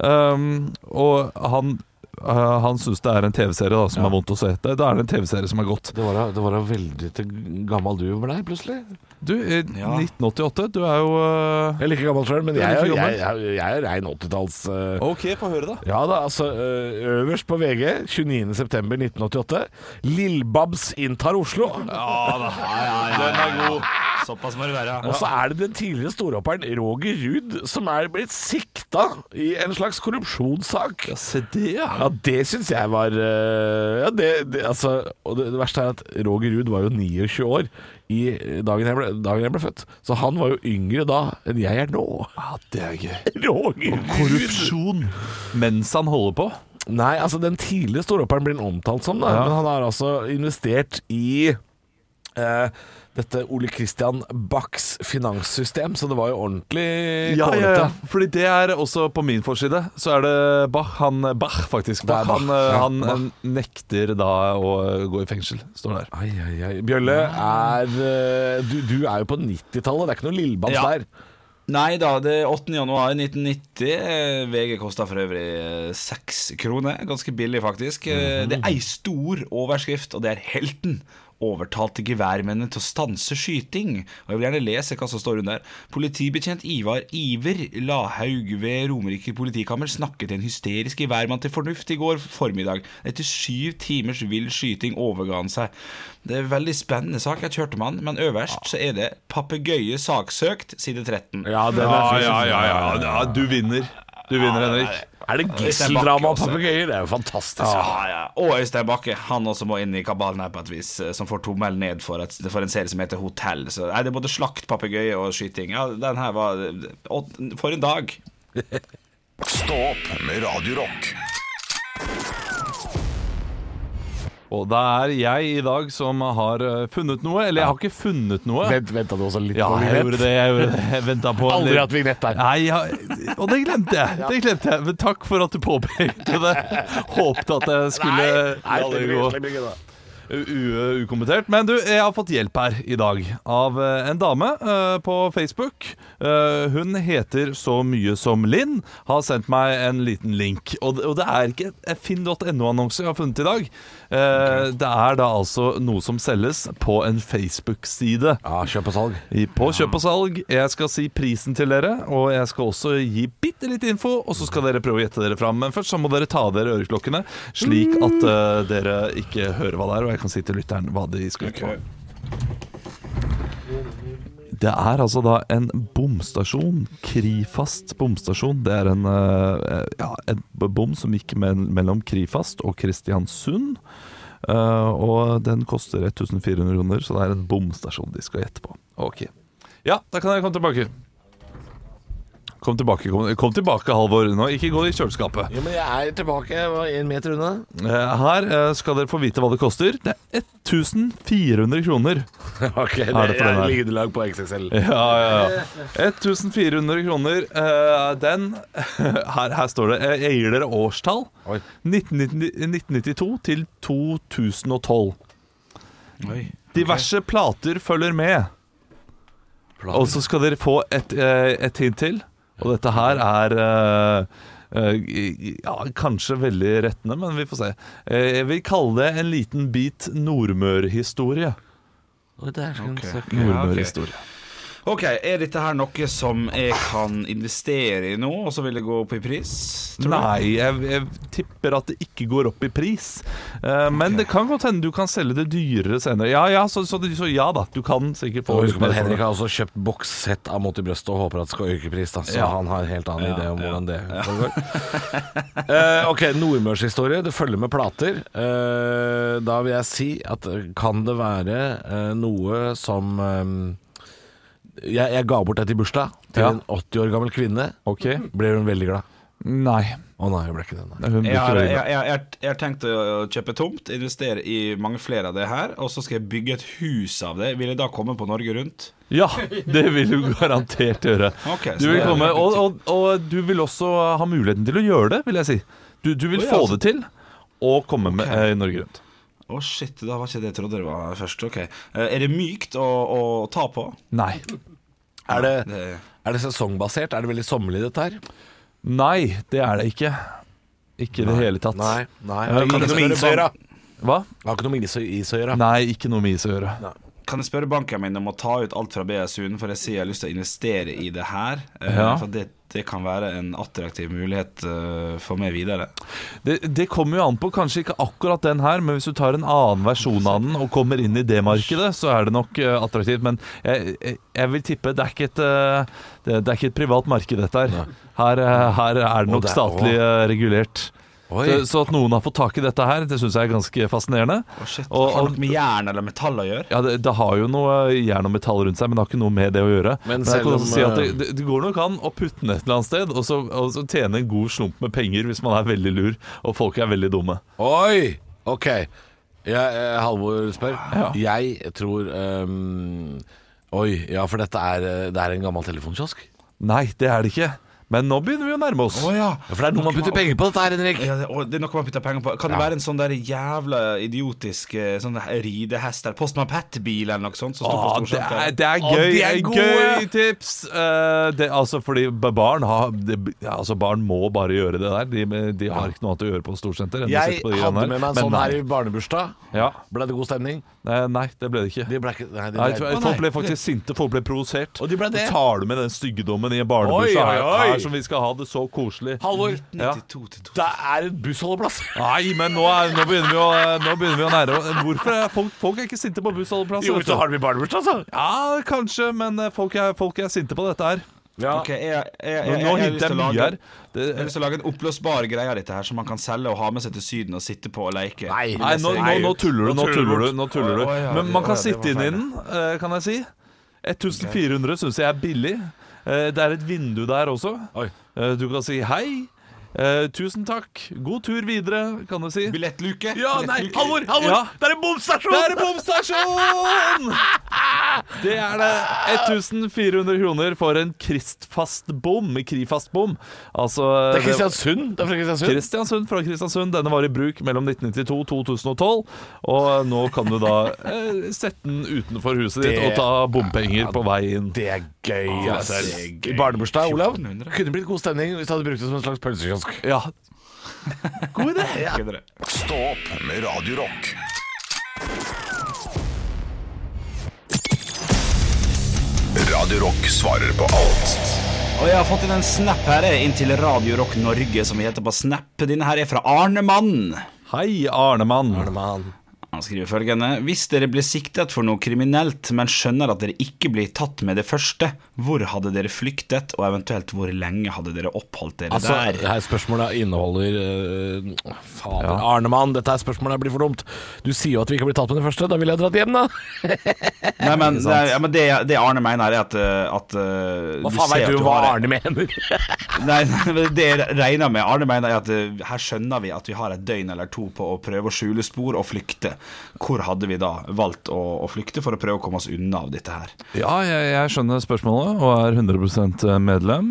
Speaker 3: Um, og han Uh, han syns det er en TV-serie da som er vondt å se. Da da er det en TV-serie som er godt.
Speaker 4: Det var da- det var da veldig til gammel du blei, plutselig.
Speaker 3: Du, eh,
Speaker 5: Ja.
Speaker 3: 1988, du er jo uh...
Speaker 4: Jeg er like gammel sjøl, men jeg,
Speaker 3: like
Speaker 4: er-
Speaker 3: gammel.
Speaker 4: jeg, jeg, jeg er rein 80-talls... eh,
Speaker 3: OK, få høre, da.
Speaker 4: Ja da, altså ø, øverst på VG 29.9.1988 Lillbabs inntar Oslo
Speaker 5: Den er god. Såpass må det være.
Speaker 4: Og så er det den tidligere storhopperen Roger Rud Som er blitt sikta i en slags korrupsjonssak
Speaker 3: Se det, ja.
Speaker 4: Ja, det synes jeg var ø, Ja, det, det altså Og det, det verste er at Roger Rud var jo 29 år I dagen jeg, ble, dagen jeg ble født Så han var jo yngre da enn jeg er nå
Speaker 3: Ja, det er gøy.
Speaker 4: Roger Rud
Speaker 3: Korrupsjon mens han holder på.
Speaker 4: Nei, altså den tidlige storhopperen blir han omtalt som, da,
Speaker 3: Ja.
Speaker 4: men han har altså investert i eh, dette Ole Christian Bachs finanssystem, så det var jo ordentlig kålete.
Speaker 3: Fordi Eh, det er også på min forside. Så er det Bach. Han, eh, Bach faktisk.
Speaker 4: Det er
Speaker 3: Bach, han, eh,
Speaker 4: Bach, ja.
Speaker 3: han nekter da å gå i fengsel, står der.
Speaker 4: Ai, ai, ai. Bjølle, er, eh, du, du er jo på 90-tallet, det er ikke noe lillebams
Speaker 5: Ja.
Speaker 4: der.
Speaker 5: Nei da, det er 8. januar 1990. Eh, VG kosta for øvrig eh, seks kroner. Ganske billig, faktisk. Eh, Det er ei stor overskrift, og det er 'Helten'. Overtalte geværmennene til å stanse skyting. Og Jeg vil gjerne lese hva som står under. Politibetjent Ivar Iver Lahaug ved Romerike politikammer snakket en hysterisk geværmann til fornuft i går formiddag. Etter syv timers vill skyting overga han seg. Det er en veldig spennende sak. Jeg kjørte med han, men øverst så er det 'Papegøye saksøkt', side 13.
Speaker 4: Ja, den er,
Speaker 3: Ja, ja, ja, ja, sånn. ja, Du vinner. Du vinner, Henrik.
Speaker 4: er det gisseldrama og papegøyer? Det er jo fantastisk.
Speaker 5: Ja,
Speaker 3: Ah.
Speaker 5: ja. Og Øystein Bakke, han også må inn i kabalen her på et vis, eh, som får tommelen ned for, et, for en serie som heter Hotell. Så nei, det er både slakt, papegøye og skyting. Ja, den her var eh, og, For en dag!
Speaker 1: Stå opp med Radio Rock.
Speaker 3: Og det er jeg i dag som har eh, funnet noe. Eller jeg har ikke funnet noe.
Speaker 4: Vent, venta du også litt
Speaker 3: Ja,
Speaker 4: på
Speaker 3: jeg gjorde
Speaker 4: vignett?
Speaker 3: det. Jeg, gjorde det. jeg venta på en
Speaker 4: Aldri
Speaker 3: liten-
Speaker 4: hatt vignett der.
Speaker 3: Nei, jeg, og det glemte jeg. Det glemte jeg. Men takk for at du påpekte det. Håpte at jeg skulle
Speaker 4: Nei,
Speaker 3: la det
Speaker 4: det blir-
Speaker 3: gå
Speaker 4: det blir gøy, da.
Speaker 3: u- u- ukommentert. Men du, jeg har fått hjelp her i dag av eh, en dame eh, på Facebook. Eh, Hun heter så mye som Linn. Har sendt meg en liten link. Og det- og det er ikke en finn.no-annonse jeg har funnet i dag. Eh, Det er da altså noe som selges på en Facebook-side.
Speaker 4: Ja, kjøp og salg.
Speaker 3: I- På kjøp og salg. Jeg skal si prisen til dere, og jeg skal også gi bitte litt info. Og så skal dere prøve å gjette dere fram. Men først så må dere ta av dere øreklokkene, slik at eh, dere ikke hører hva det er, og jeg kan si til lytteren hva de skal gjette. Det er altså da en bomstasjon. Krifast bomstasjon. Det er en, eh, ja, en bom som gikk mell- mellom Krifast og Kristiansund. Eh, og den koster 1400 kroner, så det er en bomstasjon de skal gjette på. Ok. Ja, da kan dere komme tilbake. Kom tilbake, kom, kom tilbake Halvor. Nå, ikke gå i kjøleskapet.
Speaker 4: Jo, men jeg er tilbake jeg var en meter unna.
Speaker 3: Eh, her eh, skal dere få vite hva det koster. Det er 1400 kroner.
Speaker 4: Ok, det,
Speaker 3: for den her?
Speaker 4: lydelag på XXL.
Speaker 3: Ja, ja, ja. 1400 kroner. eh, den her, her står det eh, Jeg gir dere årstall.
Speaker 4: Oi.
Speaker 3: 1990 1992 til 2012.
Speaker 5: Oi.
Speaker 3: Diverse plater følger med. Og så skal dere få et, eh, et hint til. Og dette her er eh, eh, ja, kanskje veldig rettende, men vi får se. Eh, Jeg vil kalle det en liten bit Nordmørhistorie.
Speaker 5: Ja, ok.
Speaker 3: Nordmørhistorie.
Speaker 5: Ok, Er dette her noe som jeg kan investere i nå, og så vil det gå opp i pris? tror du?
Speaker 3: Nei, jeg, jeg tipper at det ikke går opp i pris. Eh, men det kan godt hende du kan selge det dyrere senere. Ja, ja, så, så, så ja da, du kan sikkert få
Speaker 4: Og husk på at Henrik har også kjøpt bokssett av Mot i brøstet og håper at det skal øke pris, da. Så
Speaker 3: Ja.
Speaker 4: han har en helt annen idé om hvordan det foregår. Eh, ok, nordmørshistorie. Det følger med plater. Eh, da vil jeg si at eh, kan det være eh, noe som eh, jeg, jeg ga bort et i bursdag til
Speaker 3: Ja.
Speaker 4: en 80 år gammel kvinne.
Speaker 3: Ok.
Speaker 5: Mm-hmm.
Speaker 4: Ble hun veldig glad?
Speaker 3: Nei.
Speaker 4: Å nei, hun ble ikke det. Nei.
Speaker 3: Hun blir
Speaker 5: Jeg
Speaker 3: ikke
Speaker 5: har, jeg,
Speaker 3: veldig glad.
Speaker 5: jeg, jeg, jeg har tenkt å kjøpe tomt, investere i mange flere av det her, og så skal jeg bygge et hus av det. Vil jeg da komme på Norge Rundt?
Speaker 3: Ja, det vil du garantert gjøre.
Speaker 5: Ok, så
Speaker 3: Du vil
Speaker 5: det er
Speaker 3: komme,
Speaker 5: litt
Speaker 3: og, og, og du vil også ha muligheten til å gjøre det, vil jeg si. Du, du vil
Speaker 5: Å, ja,
Speaker 3: få
Speaker 5: altså.
Speaker 3: det til, og komme med eh, Norge Rundt.
Speaker 5: Å, shit, da var ikke det jeg trodde det var først. Ok. Eh, Er det mykt å, å ta på?
Speaker 3: Nei.
Speaker 4: Er, det,
Speaker 5: Det,
Speaker 4: er det sesongbasert? Er det veldig sommerlig, dette her?
Speaker 3: Nei, det er det ikke. Ikke i det hele tatt.
Speaker 4: Nei. nei.
Speaker 3: Ja,
Speaker 4: Har
Speaker 3: kan
Speaker 4: ikke
Speaker 3: du
Speaker 4: noe med is å
Speaker 5: spørre
Speaker 4: gjøre.
Speaker 3: Hva?
Speaker 4: Har ikke noe med is å- is å gjøre.
Speaker 3: Nei, ikke noe med is å gjøre.
Speaker 5: kan jeg spørre banken min om å ta ut alt fra BSU-en, for jeg sier jeg har lyst til å investere i det her. Eh,
Speaker 3: Ja.
Speaker 5: For det, det kan være en attraktiv mulighet eh, for meg videre.
Speaker 3: Det, det kommer jo an på kanskje ikke akkurat den her, men hvis du tar en annen versjon av den og kommer inn i det markedet, så er det nok eh, attraktivt. Men jeg, jeg, jeg vil tippe det er ikke et, eh, det, det er ikke et privat marked, dette her. Her, eh, her er det
Speaker 4: Og
Speaker 3: nok
Speaker 4: det-
Speaker 3: statlig eh, regulert.
Speaker 4: Oi.
Speaker 3: Så, så at noen har fått tak i dette her, det syns jeg er ganske fascinerende.
Speaker 5: Å, shit,
Speaker 3: Og-
Speaker 5: Har
Speaker 3: og-
Speaker 5: det noe med jern eller metall å gjøre?
Speaker 3: ja, det, det har jo noe jern og metall rundt seg, men det har ikke noe med det å gjøre.
Speaker 4: Men
Speaker 3: Men, jeg
Speaker 4: selv
Speaker 3: kan
Speaker 4: om,
Speaker 3: også si at det,
Speaker 4: eh,
Speaker 3: det, det går nok an å putte den et eller annet sted, og så, og så tjene en god slump med penger hvis man er veldig lur, og folk er veldig dumme.
Speaker 4: Oi! Ok. Jeg, eh, Halvor spør.
Speaker 3: Ja.
Speaker 4: Jeg tror ehm, Oi, ja, for dette er, eh, det er en gammel telefonkiosk.
Speaker 3: Nei, det er det ikke. Men nå begynner vi å nærme oss.
Speaker 5: Å ja.
Speaker 4: Ja, for det er noe man putter penger på, dette her, Henrik.
Speaker 5: Ja, det, og det er noe man putter penger på. Kan det være en sånn der jævla idiotisk eh, sånn der ridehest eller Postman Pat-bil eller noe sånt? Som
Speaker 3: Å,
Speaker 5: står på
Speaker 3: det, er,
Speaker 5: storskjermen?
Speaker 3: det er
Speaker 4: Å,
Speaker 3: gøy,
Speaker 4: de er gode.
Speaker 3: gøy tips! Eh, det, altså, fordi b- barn har det, ja, Altså, barn må bare gjøre det der. De, de har ikke noe annet å gjøre på storsenter. enn å
Speaker 4: Jeg
Speaker 3: sitte på de
Speaker 4: hadde
Speaker 3: greiene
Speaker 4: med meg en
Speaker 3: Men
Speaker 4: sånn her
Speaker 3: nei.
Speaker 4: i barnebursdag.
Speaker 3: Ja.
Speaker 4: Ble det god stemning?
Speaker 3: Eh, Nei, det ble det ikke.
Speaker 4: De ble ikke Nei, de
Speaker 3: Nei,
Speaker 4: ble, Å,
Speaker 3: folk
Speaker 4: nei.
Speaker 3: ble faktisk sinte, folk ble provosert.
Speaker 4: Og de ble det.
Speaker 3: Så tar du med den styggedommen i en barnebuss
Speaker 4: Oi,
Speaker 3: her,
Speaker 4: oi, oi.
Speaker 3: her som vi skal ha det så koselig.
Speaker 4: Halvor,
Speaker 3: Ja.
Speaker 5: 92 til 2.
Speaker 4: det er en bussholdeplass.
Speaker 3: Nei, men nå, er, nå, begynner vi å, nå begynner vi å nære oss. Hvorfor er folk, folk er ikke sinte på bussholdeplasser?
Speaker 4: Jo,
Speaker 3: altså, vet du.
Speaker 4: så har de barnebursdag, altså.
Speaker 3: Ja, kanskje, men eh, folk er, folk er sinte på dette her.
Speaker 5: Ok, jeg, jeg, jeg,
Speaker 3: Nå,
Speaker 5: jeg,
Speaker 3: nå
Speaker 5: jeg, har lyst
Speaker 3: hinter jeg
Speaker 5: til å
Speaker 3: mye
Speaker 5: lage-
Speaker 3: her. Det,
Speaker 5: jeg har lyst til å lage en oppblåsbar greie av dette her som man kan selge og ha med seg til Syden og sitte på og leke.
Speaker 4: Nei.
Speaker 3: nei, nå, nå, nå tuller du, nå tuller du. Nå tuller
Speaker 5: Å, å, ja,
Speaker 3: du. Men man
Speaker 5: det-
Speaker 3: kan
Speaker 5: ja, det
Speaker 3: sitte
Speaker 5: var
Speaker 3: inn i
Speaker 5: feil,
Speaker 3: den, eh, kan jeg si. 1400 syns jeg er billig. Eh, Det er et vindu der også.
Speaker 4: Oi.
Speaker 3: Eh, Du kan si hei. Eh, tusen takk. God tur videre, kan du si.
Speaker 5: Billettluke.
Speaker 3: Ja, nei,
Speaker 5: Billettluke.
Speaker 3: Halvor! Halvor!
Speaker 4: Ja.
Speaker 3: Det er en bomstasjon! Det er en bomstasjon! Det er det. 1400 kroner for en kristfast bom. Krifast bom. Altså
Speaker 4: Det er Kristiansund. Det er fra Kristiansund.
Speaker 3: Kristiansund fra Kristiansund. Denne var i bruk mellom 1992 og 2012. Og nå kan du da eh, sette den utenfor huset ditt
Speaker 4: Det-
Speaker 3: og ta bompenger på vei inn.
Speaker 4: Det er gøy, ass.
Speaker 5: det er gøy.
Speaker 4: I barnebursdag, Olav,
Speaker 5: 1400.
Speaker 4: kunne blitt god stemning hvis du hadde brukt det som en slags pølsekiosk.
Speaker 3: Ja. God idé!
Speaker 5: Ikke dere.
Speaker 1: Stå opp med Radio Rock. Radio Rock svarer på alt.
Speaker 5: Og jeg har fått inn en snap her jeg, inn til Radio Rock Norge, som vi heter på Snap. Denne her er fra Arnemann.
Speaker 3: Hei, Arnemann.
Speaker 5: Han skriver følgende Hvis dere ble siktet for noe kriminelt, men skjønner at dere ikke blir tatt med det første, hvor hadde dere flyktet, og eventuelt hvor lenge hadde dere oppholdt dere
Speaker 4: Altså,
Speaker 5: der?
Speaker 4: det her spørsmålet inneholder øh, Fader, Arnemann, dette her spørsmålet blir for dumt. Du sier jo at vi ikke blir tatt med det første. Da ville jeg dratt hjem, da.
Speaker 5: Nei, men, det, ja, men det, det Arne mener, er at, eh, at eh,
Speaker 4: Hva
Speaker 5: ser
Speaker 4: faen veit
Speaker 5: at
Speaker 4: du hva
Speaker 5: har-
Speaker 4: Arne mener?
Speaker 5: Nei, nei, men det jeg regner med Arne mener er at eh, her skjønner vi at vi har et døgn eller to på å prøve å skjule spor og flykte. Hvor hadde vi da valgt å, å flykte for å prøve å komme oss unna av dette her?
Speaker 3: Ja, jeg, jeg skjønner spørsmålet og er 100 medlem.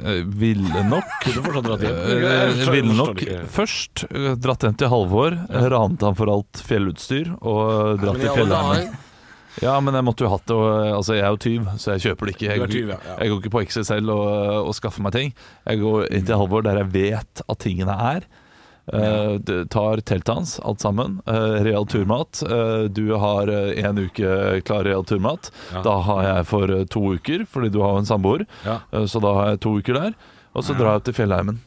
Speaker 3: Eh, Ville nok Eh, Ville nok først eh, dratt hjem til Halvor, eh, ranet han for alt fjellutstyr og eh, dratt til fjellheimen. Ja, men jeg måtte jo hatt det. Og, eh, altså, jeg er jo tyv, så jeg kjøper det ikke. Jeg,
Speaker 4: Du er tyv, ja, ja.
Speaker 3: jeg går ikke på Excel selv og, eh, og skaffer meg ting. Jeg går inn til Halvor der jeg vet at tingene er. Eh, d- tar teltet hans, alt sammen. Eh, real turmat. Eh, du har eh, en uke klar real turmat. Da har jeg for eh, to uker, fordi du har jo en samboer.
Speaker 4: Ja.
Speaker 3: Eh, så da har jeg to uker der. Og så drar jeg til fjellheimen.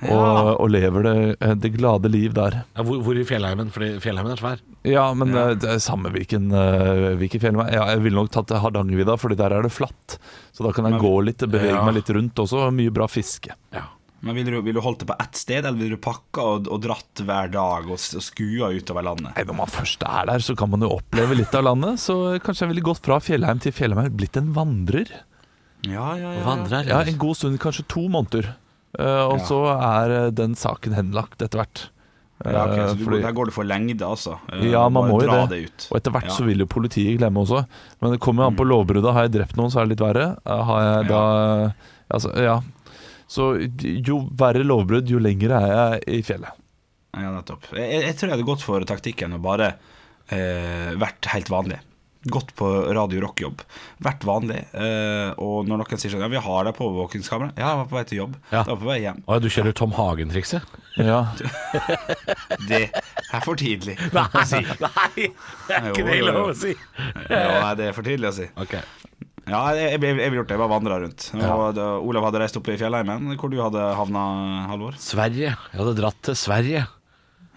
Speaker 3: Og, og lever det, eh, det glade liv der.
Speaker 4: Ja, hvor, hvor i fjellheimen? Fordi fjellheimen er svær.
Speaker 3: Ja, men eh, det er samme hvilken, eh, hvilken fjellheim ja, Jeg ville nok tatt Hardangervidda, Fordi der er det flatt. Så da kan jeg gå litt, bevege
Speaker 4: Ja.
Speaker 3: meg litt rundt også. og Mye bra fiske.
Speaker 5: Men Ville du, vil du holdt det på ett sted, eller ville du pakka og, og dratt hver dag og, s- og skua utover landet?
Speaker 3: Nei, Når man først er der, så kan man jo oppleve litt av landet. Så kanskje jeg ville gått fra fjellheim til fjellheim, blitt en vandrer.
Speaker 5: Ja, ja, ja.
Speaker 4: Vandrer.
Speaker 3: Ja, En god stund, kanskje to måneder. Eh, og så er eh, den saken henlagt etter hvert.
Speaker 5: ja ok,
Speaker 3: Eh,
Speaker 5: så du,
Speaker 3: fordi-
Speaker 5: Der går det for lengde, altså. Eh,
Speaker 3: Ja, man
Speaker 5: bare
Speaker 3: må jo
Speaker 5: dra
Speaker 3: det.
Speaker 5: ut.
Speaker 3: Og etter hvert
Speaker 5: Ja.
Speaker 3: så vil jo politiet glemme også. Men det kommer jo an på lovbruddet. Har jeg drept noen, så er det litt verre. Eh, Har jeg da Altså, ja. Så jo verre lovbrudd, jo lenger er jeg i fjellet.
Speaker 5: Ja, nettopp. Jeg, jeg- jeg tror jeg hadde gått for taktikken og bare eh, vært helt vanlig. Gått på Radio Rock-jobb. Vært vanlig. Eh, og når noen sier sånn Ja, vi har deg på overvåkingskamera. Ja, jeg var på vei til jobb.
Speaker 4: Ja.
Speaker 5: Jeg var på vei hjem.
Speaker 4: Å, ja, du kjører Tom Hagen-trikset?
Speaker 3: Ja.
Speaker 5: Det er for tidlig.
Speaker 4: Nei, nei, det er
Speaker 5: ikke det lov å
Speaker 4: si.
Speaker 5: Ja, nei, det er for tidlig å si. Ja, jeg, jeg, jeg ville gjort det. Jeg var vandra rundt. Og da, Olav hadde reist opp i fjellheimen, hvor du hadde havna, Halvor.
Speaker 4: Sverige. Jeg hadde dratt til Sverige.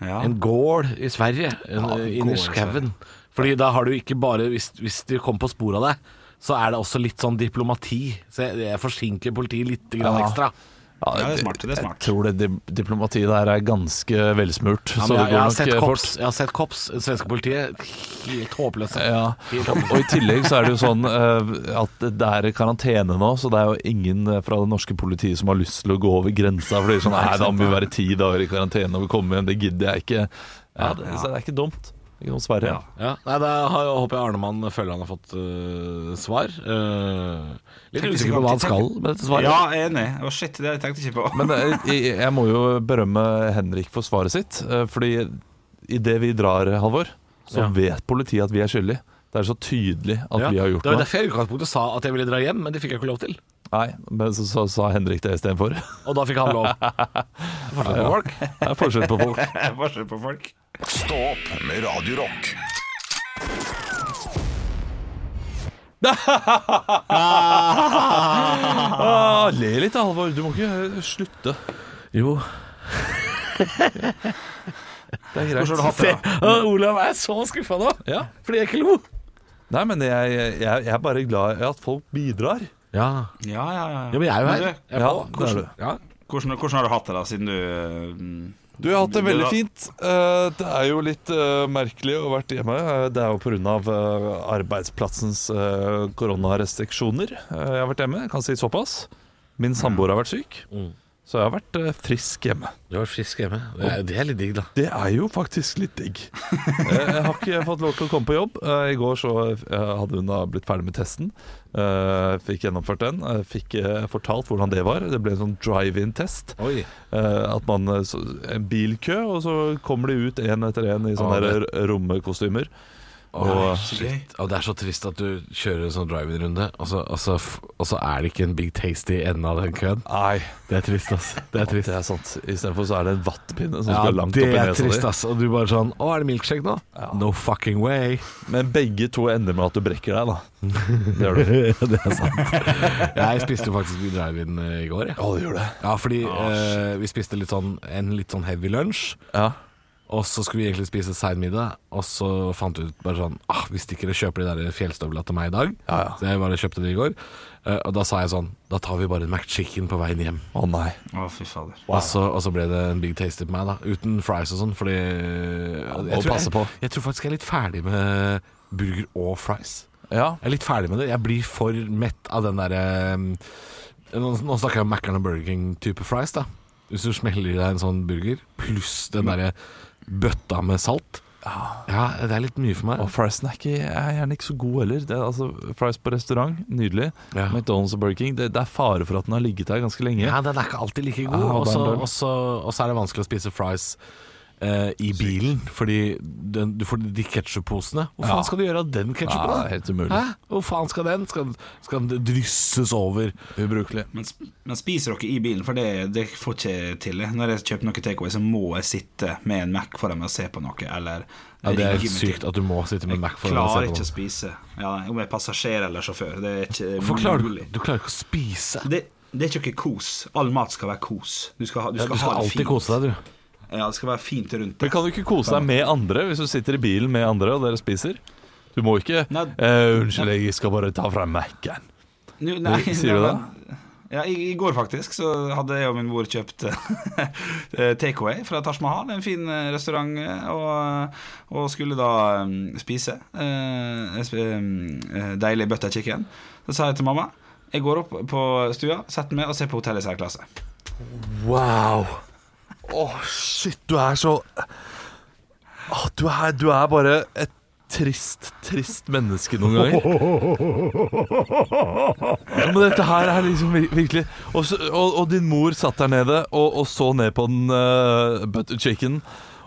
Speaker 5: Ja.
Speaker 4: En gård i Sverige, en,
Speaker 5: Ja,
Speaker 4: inn
Speaker 5: gård i Sverige.
Speaker 4: i skauen. Fordi da har du ikke bare Hvis, hvis de kommer på sporet av deg, så er det også litt sånn diplomati. Så jeg, jeg forsinker politiet litt grann
Speaker 3: Ja.
Speaker 4: ekstra.
Speaker 5: Ja, det er smart, det er smart.
Speaker 3: Jeg tror det di- diplomatiet der er ganske velsmurt.
Speaker 4: Ja,
Speaker 3: så
Speaker 4: men
Speaker 3: det
Speaker 4: jeg, jeg, har sett
Speaker 3: går nok eh,
Speaker 4: kops,
Speaker 3: fort.
Speaker 4: jeg har sett kops, det svenske politiet, helt håpløse.
Speaker 3: Ja.
Speaker 4: Helt
Speaker 3: Og i tillegg så er det jo sånn eh, at det er karantene nå, så det er jo ingen eh, fra det norske politiet som har lyst til å gå over grensa. For det er sånn, nei, da må vi være ti dager i karantene og komme hjem, det gidder jeg ikke. Ja, det, så det er ikke dumt. Ikke noe Sverige.
Speaker 4: Ja, nei, Da har- håper jeg Arnemann føler han har fått øh, svar. Eh, litt
Speaker 5: Tenk
Speaker 4: usikker på hva han skal med dette svaret.
Speaker 5: Ja, jeg er enig. Å, shit, det har jeg tenkt ikke på.
Speaker 3: Men eh, jeg, jeg må jo berømme Henrik for svaret sitt. eh, Fordi idet vi drar, Halvor, så
Speaker 4: Ja.
Speaker 3: vet politiet at vi er skyldige. Det er så tydelig at
Speaker 4: Ja,
Speaker 3: vi har gjort
Speaker 4: det var
Speaker 3: noe.
Speaker 4: derfor jeg i utgangspunktet sa at jeg ville dra hjem, men det fikk jeg ikke lov til.
Speaker 3: Nei, men så, så sa Henrik det istedenfor.
Speaker 4: Og da fikk han lov. Forskjell på
Speaker 3: Det er forskjell på
Speaker 4: folk.
Speaker 3: folk.
Speaker 5: Jeg er forskjell på folk.
Speaker 1: Stå opp med Radio Rock.
Speaker 3: Ah, le litt, da, Halvor. Du må ikke eh, slutte.
Speaker 4: Jo.
Speaker 3: Det er
Speaker 5: Hvordan har du
Speaker 3: greit.
Speaker 5: hatt det? da?
Speaker 4: Olav er så skuffa nå,
Speaker 3: Ja.
Speaker 4: fordi jeg ikke lo.
Speaker 3: Nei, men jeg, jeg, jeg er bare glad i at folk bidrar.
Speaker 4: Ja.
Speaker 5: Ja, ja, ja.
Speaker 4: men jeg er jo her.
Speaker 5: Men du,
Speaker 4: Jeg er
Speaker 3: Ja,
Speaker 4: på.
Speaker 3: det er du.
Speaker 4: Ja.
Speaker 5: Hvordan, hvordan har du hatt det, da, siden du eh,
Speaker 3: Du jeg har hatt det veldig
Speaker 5: Du har-
Speaker 3: fint. Eh, Det er jo litt eh, merkelig å ha vært hjemme. Eh, Det er jo pga. eh, arbeidsplassens eh, koronarestriksjoner eh, jeg har vært hjemme. Jeg kan si såpass. Min samboer har vært syk. Så jeg har vært eh, frisk hjemme.
Speaker 4: Du var frisk hjemme. Det er, det er litt digg, da.
Speaker 3: Det er jo faktisk litt digg. Eh, Jeg har ikke fått lov til å komme på jobb. Eh, I går så eh, hadde hun da blitt ferdig med testen. Eh, Fikk gjennomført den. Eh, Fikk eh, fortalt hvordan det var. Det ble en sånn drive-in-test.
Speaker 4: Oi.
Speaker 3: Eh, At man eh, så- En bilkø, og så kommer de ut én etter én i sånne
Speaker 4: Ah,
Speaker 3: der r- rommekostymer.
Speaker 4: Åh,
Speaker 3: Og
Speaker 4: shit. Og det er så trist at du kjører en sånn drive-in-runde, og, så- og, så f- og så er det ikke en Big Tasty i enden av den køen.
Speaker 3: Nei,
Speaker 4: Det er trist, ass. Det er trist.
Speaker 3: det er sant. Istedenfor så er det en vattpinne som
Speaker 4: Ja,
Speaker 3: skal langt opp
Speaker 4: det
Speaker 3: i
Speaker 4: er
Speaker 3: nesa
Speaker 4: trist,
Speaker 3: di.
Speaker 4: ass. Og du bare sånn Å, er det milkshake nå? No fucking way.
Speaker 3: Men begge to ender med at du brekker deg, da. Det gjør du.
Speaker 4: det er sant. Jeg spiste jo faktisk drive-in eh, i går, jeg.
Speaker 3: Å, det gjør det.
Speaker 4: Ja, fordi
Speaker 3: Ah,
Speaker 4: eh, vi spiste litt sånn, en litt sånn heavy lunsj.
Speaker 3: Ja.
Speaker 4: Og så skulle vi egentlig spise sein middag, og så fant vi ut bare sånn ah, Vi stikker og kjøper de der fjellstøvla til meg i dag.
Speaker 3: Ja, ja.
Speaker 4: Så jeg bare kjøpte de i går. Eh, og da sa jeg sånn Da tar vi bare en McChicken på veien hjem.
Speaker 3: Å nei.
Speaker 5: Å, fy fader.
Speaker 4: Og, så, og så ble det en big tasty på meg, da. Uten fries og sånn, fordi
Speaker 3: må passe på.
Speaker 4: jeg, jeg tror faktisk jeg er litt ferdig med burger og fries.
Speaker 3: Ja,
Speaker 4: Jeg er litt ferdig med det. Jeg blir for mett av den derre um, Nå nå snakker jeg om Mac'er'n og Burger King-type fries, da. Hvis du smeller i deg en sånn burger, pluss den derre bøtta med salt. Ja, det er litt mye for meg.
Speaker 3: Og friesen er, ikke, er gjerne ikke så god heller. Det er, altså, fries på restaurant, nydelig.
Speaker 4: Ja.
Speaker 3: McDonald's og Burger King, det, det er fare for at den har ligget der ganske lenge.
Speaker 4: Ja, den er ikke alltid like god.
Speaker 3: Ah,
Speaker 4: og så-
Speaker 3: den- den-
Speaker 4: og så og så er det vanskelig å spise fries eh, i bilen, fordi den, du får de ketsjupposene. Hvor faen skal du gjøre av den
Speaker 3: Ja, det er
Speaker 4: ketsjupen?
Speaker 3: helt umulig.
Speaker 4: Hæ? Hvor faen skal den? Skal, skal den drysses over?
Speaker 3: Ubrukelig.
Speaker 5: Men, sp- men spiser dere i bilen, for det, det får ikke jeg til. jeg. Når jeg kjøper noe takeaway, så må jeg sitte med en Mac foran meg og se på noe, eller
Speaker 4: Ja, det er
Speaker 5: ringe
Speaker 4: helt
Speaker 5: med
Speaker 4: sykt
Speaker 5: til-
Speaker 4: at du må sitte med Mac for
Speaker 5: jeg
Speaker 4: å se
Speaker 5: klarer
Speaker 4: på
Speaker 5: ikke å
Speaker 4: den.
Speaker 5: spise. Ja, nei, om jeg er passasjer eller sjåfør, det er ikke
Speaker 4: Hvorfor klarer du,
Speaker 5: mulig.
Speaker 4: du klarer ikke å spise?
Speaker 5: Det, det er ikke noe kos. All mat skal være kos. Du skal, ha- du
Speaker 4: Ja,
Speaker 5: skal,
Speaker 4: du skal
Speaker 5: ha det
Speaker 4: alltid
Speaker 5: fint.
Speaker 4: kose deg, du.
Speaker 5: Ja, det skal være fint rundt
Speaker 3: Men
Speaker 5: deg.
Speaker 3: kan du ikke kose deg med andre hvis du sitter i bilen med andre og dere spiser? Du må ikke
Speaker 5: Nei.
Speaker 3: eh, 'Unnskyld, jeg skal bare ta frem Mac-en'.
Speaker 5: Nå- nei,
Speaker 3: Sier du
Speaker 5: nei,
Speaker 3: det?
Speaker 5: men- Ja, i, I går faktisk så hadde jeg og min mor kjøpt eh, takeaway fra Taj Mahal, en fin eh, restaurant, eh, og, og skulle da mm, spise eh, sp- eh, deilig butter chicken. Så sa jeg til mamma jeg går opp på stua, setter meg og ser på Hotell i særklasse.
Speaker 3: Wow. Å, shit, du er så Å, du, er, du er bare et trist, trist menneske noen ganger. Ja, men dette her er liksom vir- virkelig Og, så, og, og din mor satt der nede og, og så ned på den eh, butter chicken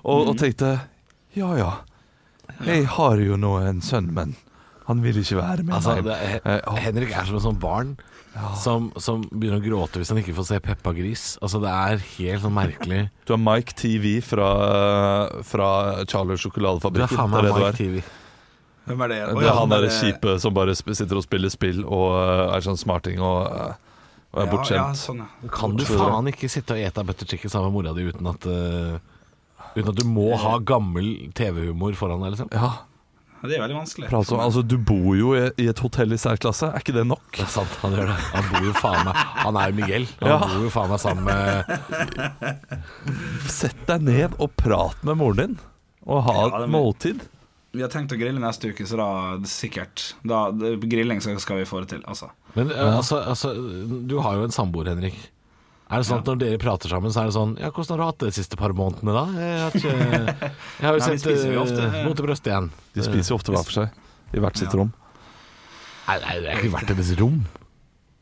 Speaker 3: og,
Speaker 4: Mm.
Speaker 3: og tenkte Ja ja, jeg har jo nå en sønn, men han vil ikke være med
Speaker 4: Altså,
Speaker 3: meg.
Speaker 4: det er,
Speaker 3: Eh, å,
Speaker 4: Hen- Henrik er som et sånt barn som, som begynner å gråte hvis han ikke får se Peppa Gris. Altså, det er helt sånn merkelig.
Speaker 3: Du er Mike TV fra, eh, fra Charlie
Speaker 4: Du er
Speaker 3: sjokoladefabrikken.
Speaker 4: faen meg
Speaker 3: det du
Speaker 4: Mike
Speaker 3: er.
Speaker 4: TV.
Speaker 5: Hvem er eh, det? Å,
Speaker 3: Det
Speaker 5: ja,
Speaker 3: er han derre
Speaker 5: der-
Speaker 3: kjipe som bare sp- sitter og spiller spill og øh, er sånn smarting og, øh, og er
Speaker 5: Ja, ja,
Speaker 3: bortskjemt.
Speaker 5: sånn, ja.
Speaker 4: Kan du faen ikke sitte og ete butter chicken sammen med mora di uten at eh, Uten at du må ha gammel TV-humor foran deg, liksom?
Speaker 3: Ja,
Speaker 5: Ja, Det er veldig vanskelig.
Speaker 3: for altså, altså, du bor jo i, i et hotell i særklasse, er ikke det nok?
Speaker 4: Det er sant, han gjør det. Han bor jo faen meg Han er jo Miguel. Han
Speaker 3: Ja.
Speaker 4: bor jo faen meg sammen med
Speaker 3: Sett deg ned og prat med moren din, og ha
Speaker 5: Ja,
Speaker 3: et
Speaker 5: det må-
Speaker 3: måltid.
Speaker 5: Vi har tenkt å grille neste uke, så da sikkert. Da, det, grilling så skal vi få det til, altså.
Speaker 4: Men eh, altså, altså, du har jo en samboer, Henrik. Er det sånn at når dere prater sammen, så er det sånn Ja, hvordan har du hatt det de siste par månedene, da? Jeg har, ikke, jeg har
Speaker 5: Nei, vi
Speaker 4: jo sett
Speaker 5: spiser jo ofte,
Speaker 4: eh,
Speaker 5: eh.
Speaker 4: mot i brøstet igjen.
Speaker 3: De spiser jo ofte hver for seg i hvert sitt rom.
Speaker 4: Nei, nei, det er ikke verdt deres rom.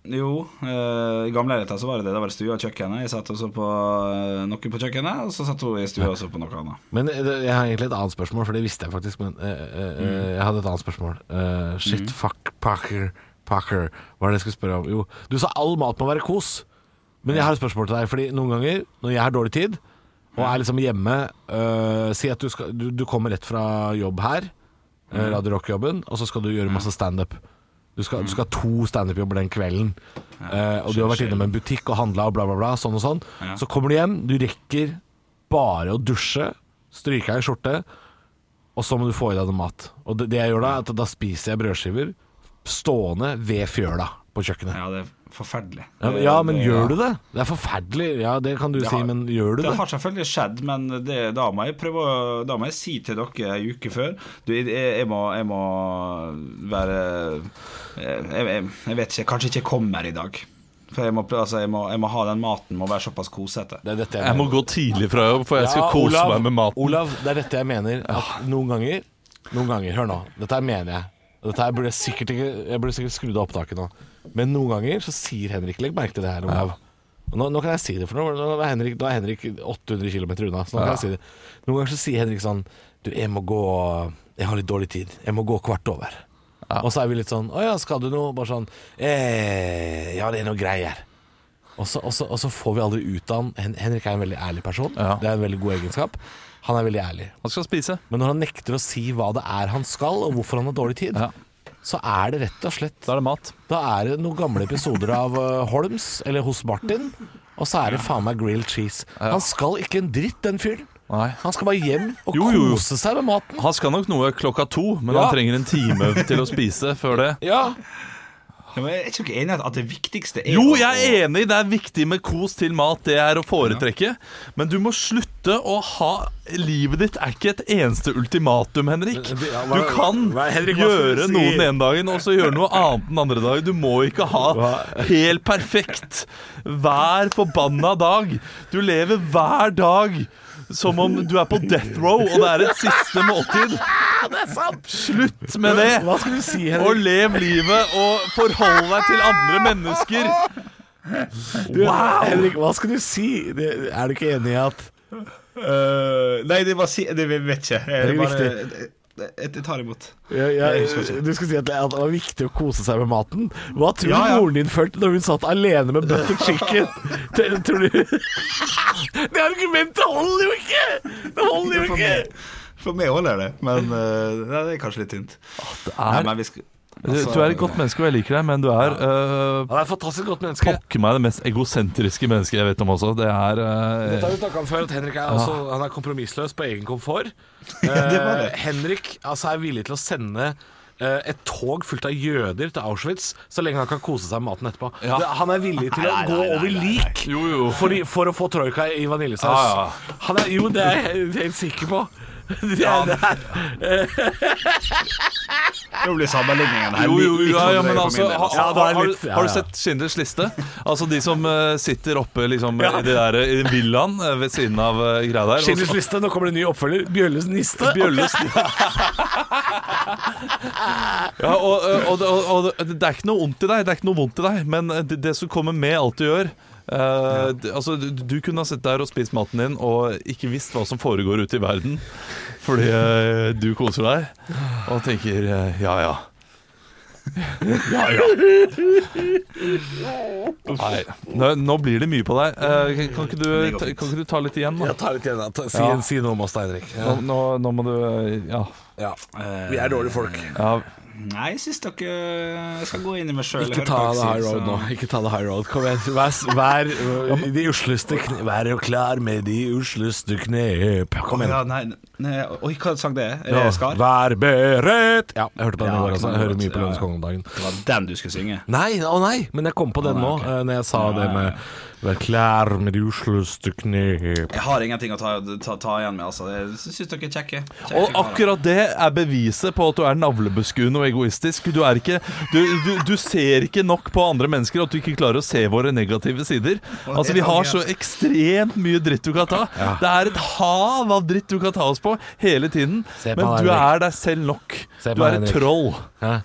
Speaker 5: Jo, eh, i gamle leiligheter så var det det. Da var det stua og kjøkkenet. Jeg satt og så på eh, noe på kjøkkenet, og så satt hun i stua og så på noe annet.
Speaker 4: Men eh, det- jeg har egentlig et annet spørsmål, for det visste jeg faktisk. Men eh, eh, eh, jeg hadde et annet spørsmål. Eh, shit, fuck, Parker, Parker. Hva er det jeg skulle spørre om? Jo, du sa all mat må være kos. Men jeg har et spørsmål til deg, fordi noen ganger når jeg har dårlig tid, og er liksom hjemme eh, Si at du, skal, du, du kommer rett fra jobb her, eh, Radio Rock-jobben, og så skal du gjøre masse standup. Du skal, du skal ha to standup-jobber den kvelden. Eh, og du har vært innom en butikk og handla og bla, bla, bla. Sånn og sånn.
Speaker 5: Ja.
Speaker 4: Så kommer du hjem, du rekker bare å dusje, stryke av en skjorte, og så må du få i deg noe mat. Og det, det jeg gjør da, er at da spiser jeg brødskiver stående ved fjøla på kjøkkenet.
Speaker 5: Ja, det er forferdelig.
Speaker 4: Ja, men, ja, men gjør du det? Det er forferdelig. Ja, det kan du si,
Speaker 5: har-
Speaker 4: men gjør du
Speaker 5: Det
Speaker 4: det?
Speaker 5: har selvfølgelig skjedd, men det, da, må jeg prøve, å- da må jeg si til dere ei uke før Du, jeg, jeg, må, jeg må eh, være jeg, jeg, jeg vet ikke, kanskje ikke jeg kommer i dag. For jeg må, prøve- altså, jeg må, jeg må ha den maten, må være såpass kosete.
Speaker 4: Det er dette jeg
Speaker 3: Jeg må
Speaker 4: mener.
Speaker 3: gå tidlig fra jobb, for jeg skal
Speaker 4: Ja,
Speaker 3: kose
Speaker 4: Olav,
Speaker 3: meg med maten. Ah.
Speaker 4: Olav, det er dette jeg mener. At noen ganger Noen ganger, Hør nå. Dette her mener jeg. Og Dette her burde jeg sikkert ikke Jeg burde sikkert skrudd av opptaket nå. Men noen ganger så sier Henrik Legg merke til det her, Olav. Og Nå, nå kan jeg si det, for nå, nå, er Henrik, nå er Henrik 800 km unna. Så nå kan jeg si det. Noen ganger så sier Henrik sånn Du, jeg må gå Jeg har litt dårlig tid. Jeg må gå kvart over. Og så er vi litt sånn Å ja, skal du noe? Bare sånn eh, Ja, det er noe greier. Og så, og, så, og så får vi aldri ut av han. Hen- Henrik er en veldig ærlig person.
Speaker 3: Ja.
Speaker 4: Det er en veldig god egenskap. Han er veldig ærlig.
Speaker 3: Han skal spise.
Speaker 4: Men når han nekter å si hva det er han skal, og hvorfor han har dårlig tid,
Speaker 3: Ja.
Speaker 4: så er det rett og slett
Speaker 3: Da er det mat.
Speaker 4: Da er det noen gamle episoder av eh, Holmes, eller hos Martin, og så er det faen meg grilled cheese. Han skal ikke en dritt, den fyren.
Speaker 3: Nei.
Speaker 4: Han skal bare hjem og
Speaker 3: Jo, jo, jo.
Speaker 4: kose seg med maten.
Speaker 3: Han skal nok noe klokka to, men
Speaker 4: Ja.
Speaker 3: han trenger en time til å spise før det.
Speaker 4: Ja,
Speaker 5: Ja, men jeg er ikke enig i at- at det viktigste er
Speaker 3: Jo,
Speaker 5: å-
Speaker 3: jeg er enig, det er viktig med kos til mat, det er å foretrekke. Men du må slutte å ha Livet ditt er ikke et eneste ultimatum, Henrik. Du kan gjøre noe den ene dagen, og så gjøre noe annet den andre dagen. Du må ikke ha helt perfekt hver forbanna dag. Du lever hver dag som om du er på death row, og det er et siste måltid. Slutt med det!
Speaker 4: hva skal du si,
Speaker 3: Og
Speaker 4: Henrik?
Speaker 3: lev livet og forhold deg til andre mennesker. Wow!
Speaker 4: Henrik, hva skal du si? Det, er du ikke enig i at
Speaker 5: Øh, nei, det bare si Det jeg vet ikke. Jeg,
Speaker 4: Det er
Speaker 5: bare, jeg, jeg, jeg tar imot.
Speaker 4: Ja, ja,
Speaker 5: Jeg husker ikke.
Speaker 4: eh, du skulle si at det at det var viktig å kose seg med maten. Hva tror du
Speaker 5: Ja, ja.
Speaker 4: moren din følte når hun satt alene med butter chicken? T- tror du Det argumentet holder jo ikke! Det holder jo
Speaker 5: For
Speaker 4: ikke!
Speaker 5: meg, for meg holder det, men øh, nei, det er kanskje litt tynt. Nei, men vi skal, altså,
Speaker 3: Du er et godt menneske, og jeg liker deg, men du er øh,
Speaker 4: Han er et fantastisk godt menneske.
Speaker 3: pokker meg det mest egosentriske mennesket jeg vet om også. Det er øh,
Speaker 4: Dette har vi snakka om før, at Henrik er, også, han er kompromissløs på egen komfort.
Speaker 5: det var det.
Speaker 4: Eh, Henrik altså, er villig til å sende eh, et tog fullt av jøder til Auschwitz så lenge han kan kose seg med maten etterpå.
Speaker 3: Ja.
Speaker 4: Det- Han er villig til å gå over lik
Speaker 3: Jo, jo.
Speaker 4: Fordi, for å få troika i vaniljesaus.
Speaker 3: Ja, ja.
Speaker 4: Han er, jo, det er jeg helt- helt sikker på. Det er, det er.
Speaker 5: Nå blir sammenligningen her
Speaker 3: Jo, jo,
Speaker 5: litt- litt
Speaker 3: jo, ja, ja,
Speaker 5: sånn drøy
Speaker 3: men
Speaker 5: for
Speaker 3: altså
Speaker 5: min del,
Speaker 3: har,
Speaker 5: altså.
Speaker 4: Ja, det er
Speaker 3: har,
Speaker 4: litt-
Speaker 3: du-
Speaker 4: ja,
Speaker 3: har du
Speaker 4: ja.
Speaker 3: sett Schindlers liste? Altså de som øh, sitter oppe liksom i de der i den villaen øh, ved siden av øh, greia der. og så-
Speaker 4: Schindlers liste, nå kommer det en ny oppfølger. Bjølles niste.
Speaker 3: Bjølles Ja, og, og, og, og, og det er ikke noe ondt i deg, det er ikke noe vondt i deg, men det, det som kommer med alt du gjør eh, d- altså, du, du kunne ha sittet der og spist maten din og ikke visst hva som foregår ute i verden, fordi eh, du koser deg og tenker eh, ja ja. Ja ja. Nei, nå, nå blir det mye på deg. Eh, kan, kan, ikke du, ta- kan ikke du ta litt igjen, da?
Speaker 4: Jeg tar litt igjen. da. Ta- Si,
Speaker 3: Ja.
Speaker 4: si noe om Eh, oss, da, Henrik.
Speaker 3: Nå,
Speaker 4: Ja.
Speaker 3: nå, nå må du eh, Ja.
Speaker 4: Ja. Vi er dårlige folk.
Speaker 3: ja.
Speaker 5: Nei, jeg syns dere Jeg skal gå inn i meg sjøl.
Speaker 4: Ikke ta the high road nå. Ikke ta the high road. Kom igjen. Vær, vær, de usleste kne, vær jo klar med de usleste knep. Kom
Speaker 5: Ja,
Speaker 4: igjen.
Speaker 5: nei, nei, oi, hva sang det er? Er
Speaker 4: Ja,
Speaker 5: det Skar?
Speaker 4: Vær beredt. Ja, jeg hørte på den i
Speaker 5: Ja,
Speaker 4: går også.
Speaker 5: knallgodt.
Speaker 4: Jeg hører mye på
Speaker 5: Ja, ja.
Speaker 4: Lønneskongen om dagen.
Speaker 5: Det var den du skulle synge?
Speaker 4: Nei, å nei, men jeg kom på den nå, eh, når jeg sa det med Vær klar med de usleste knep.
Speaker 5: Jeg har ingenting å ta, ta, ta igjen med, altså. Jeg syns dere er kjekke. Kjekke
Speaker 3: Og
Speaker 5: karer.
Speaker 3: akkurat det er beviset på at du er navlebeskuende og egoistisk. Du, er ikke, du, du, du ser ikke nok på andre mennesker at du ikke klarer å se våre negative sider. Altså Vi har så ekstremt mye dritt du kan ta. Det er et hav av dritt du kan ta oss på hele tiden.
Speaker 4: Se på
Speaker 3: Men
Speaker 4: meg,
Speaker 3: du
Speaker 4: Henrik.
Speaker 3: er deg selv nok.
Speaker 4: Se på
Speaker 3: Du
Speaker 4: meg,
Speaker 3: er et
Speaker 4: Henrik.
Speaker 3: troll.
Speaker 4: Hæ?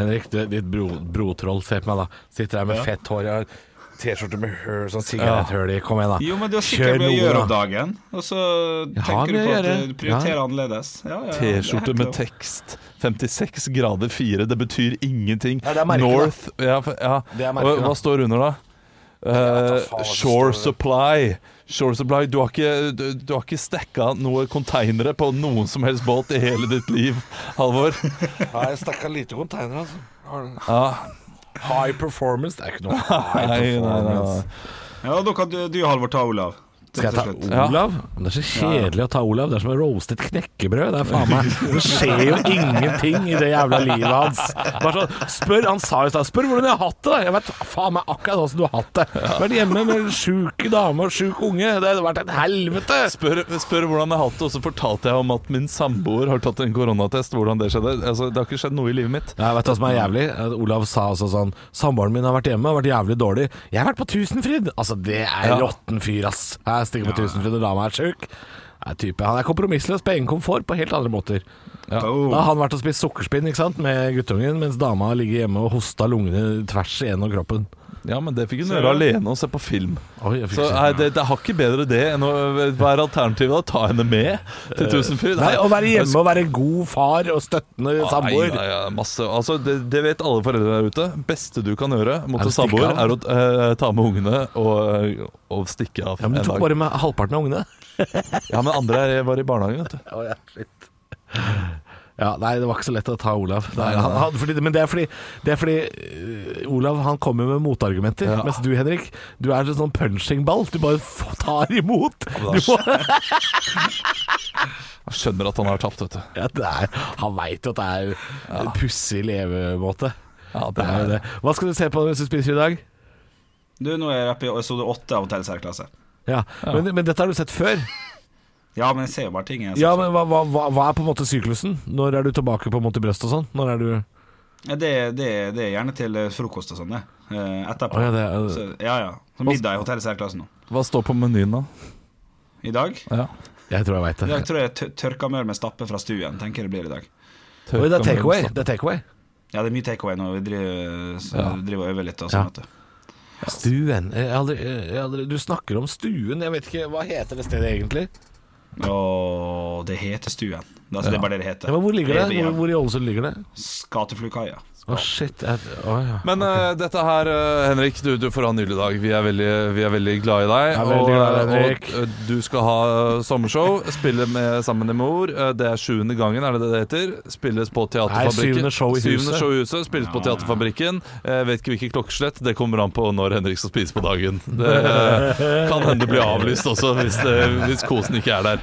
Speaker 4: Henrik, du, ditt bro, brotroll, se på meg da. Sitter der med fett hår, jeg har T-skjorte med høl, sånn sigaretthøl i. Kom igjen, da.
Speaker 5: Jo, men du har
Speaker 4: Kjør
Speaker 5: sikkert mye å
Speaker 4: noe,
Speaker 5: gjøre
Speaker 4: da.
Speaker 5: om dagen, og så
Speaker 4: har
Speaker 5: tenker du
Speaker 4: mye å
Speaker 5: på at
Speaker 4: gjøre.
Speaker 5: du prioriterer
Speaker 4: Ja.
Speaker 5: annerledes. Ja, ja, ja, det er
Speaker 3: T-skjorte
Speaker 5: helt
Speaker 3: med
Speaker 5: lov.
Speaker 3: tekst. 56 grader 4. Det betyr ingenting.
Speaker 4: Ja, det er merket, da.
Speaker 3: North ja, for- ja.
Speaker 4: Det er merket,
Speaker 3: Og
Speaker 4: da.
Speaker 3: Hva står under, da?
Speaker 4: vet da faen
Speaker 3: Eh,
Speaker 4: hva det
Speaker 3: Shore
Speaker 4: står.
Speaker 3: Supply. Shore Supply Du har ikke, du, du har ikke stacka noen konteinere på noen som helst båt i hele ditt liv, Halvor.
Speaker 4: Nei, jeg stakk av lite container, altså. Har-
Speaker 3: Ja,
Speaker 4: High performance Det er ikke noe high
Speaker 3: nei, nei, nei, nei.
Speaker 4: performance.
Speaker 5: Ja, da kan du, du Halvor, ta Olav.
Speaker 4: Skal jeg
Speaker 5: rett og slett.
Speaker 4: ta Olav? Det er så kjedelig å ta Olav. Det er som å roaste et knekkebrød. Det er faen meg Det skjer jo ingenting i det jævla livet hans. Bare sånn, spør, Han sa jo i stad 'Spør hvordan jeg har hatt det', da. Jeg vet faen meg akkurat åssen du har hatt det. Vært hjemme med en sjuk dame og sjuk unge. Det har vært et helvete.
Speaker 3: Spør, spør hvordan jeg har hatt det, og så fortalte jeg om at min samboer har tatt en koronatest. Hvordan Det skjedde Altså, det har ikke skjedd noe i livet mitt.
Speaker 4: Ja, vet du hva som er jævlig? At Olav sa også sånn Samboeren min har vært hjemme, har vært jævlig dårlig. Jeg har vært på Tusenfryd! Altså, det er
Speaker 3: Ja.
Speaker 4: råtten fyr, ass. Jeg stikker på Tusenfryd, og dama er sjuk. Nei, type. Han er kompromissløs på egen komfort på helt andre måter.
Speaker 5: Oh.
Speaker 4: Da har han vært og spist sukkerspinn ikke sant, med guttungen, mens dama ligger hjemme og hosta lungene tvers igjennom kroppen.
Speaker 3: Ja, men det fikk hun gjøre alene og se på film.
Speaker 4: Oi, jeg fikk
Speaker 3: Så
Speaker 4: se.
Speaker 3: nei, det, det har ikke bedre det enn å være alternativet. Da. Ta henne med til Tusenfryd.
Speaker 4: Eh, Nei, Å være hjemme
Speaker 3: og
Speaker 4: og være god far og støttende samboer.
Speaker 3: Nei, nei, masse. Altså, det, det vet alle foreldre der ute. Beste du kan gjøre mot
Speaker 4: Er å
Speaker 3: en samboer,
Speaker 4: stikke
Speaker 3: er
Speaker 4: av?
Speaker 3: å eh, ta med ungene og, eh, og stikke av
Speaker 4: Ja, men
Speaker 3: en
Speaker 4: Du tok
Speaker 3: dag.
Speaker 4: bare med halvparten av ungene.
Speaker 3: Ja, men andre er- var i barnehagen, vet du.
Speaker 4: Å, ja, shit. Ja, nei, det var ikke så lett å ta Olav. Nei, han, han, fordi, men det er fordi, det er fordi øh, Olav han kommer med motargumenter, mens du, Henrik, du er en sånn punchingball. Du bare f- tar imot. Du må,
Speaker 3: Jeg skjønner at han har tapt, vet du.
Speaker 4: ja, det er, han veit jo at det er en pussig levemåte.
Speaker 3: Ja,
Speaker 4: Det er jo det. Hva skal du se på hvis du spiser i dag?
Speaker 5: Du, nå er jeg oppe i episode åtte av Hotell Særklasse.
Speaker 4: Ja, Men, men dette har du sett før.
Speaker 5: Ja, men jeg ser jo bare ting. Jeg, altså.
Speaker 4: Ja, men hva, hva, hva hva er på en måte syklusen? Når er du tilbake på Monty Brøst og sånn? Når er du
Speaker 5: Ja, det, det, det er gjerne til eh, frokost og sånn, det. Eh, etterpå.
Speaker 4: Å, ja, det er-
Speaker 5: så, ja, ja. Så middag i Hotell Særklasse nå.
Speaker 3: Hva står på menyen, da?
Speaker 5: I dag
Speaker 3: Ja.
Speaker 4: Jeg tror jeg veit
Speaker 5: I
Speaker 4: det.
Speaker 5: dag tror jeg tør- tørkamør med stappe fra stuen. Tenker jeg det blir i dag.
Speaker 4: Oi, det er takeaway. Det er takeaway.
Speaker 5: Ja, det er mye takeaway når vi driver, så, driver og øver litt. Og
Speaker 4: Ja.
Speaker 5: sånn, vet du.
Speaker 4: Stuen jeg har aldri, jeg har aldri, Du snakker om stuen, jeg vet ikke Hva heter det stedet egentlig?
Speaker 5: Å, det heter Stuen. Det, altså, det er bare det det heter.
Speaker 4: Ja, men hvor ligger det? Hvor,
Speaker 5: Babyhjem.
Speaker 4: hvor i Ålesund ligger det?
Speaker 5: Skateflukaia.
Speaker 4: Å shit jeg, å, ja.
Speaker 3: Men eh, dette her, eh, Henrik, du, du får ha en nydelig dag. Vi er veldig, vi er veldig glad i deg.
Speaker 4: Jeg er veldig glad i deg, Henrik.
Speaker 3: og, eh, du skal ha eh, sommershow. Spille med sammen med mor. Eh, Det er sjuende gangen, er det det det heter? Spilles på Teaterfabrikken.
Speaker 4: Nei, syvende show i huset.
Speaker 3: Syvende show i huset. Spilles på Teaterfabrikken. Jeg vet ikke hvilket klokkeslett. Det kommer an på når Henrik skal spise på dagen. Det eh, kan hende bli avlyst også, hvis, det- hvis kosen ikke er der.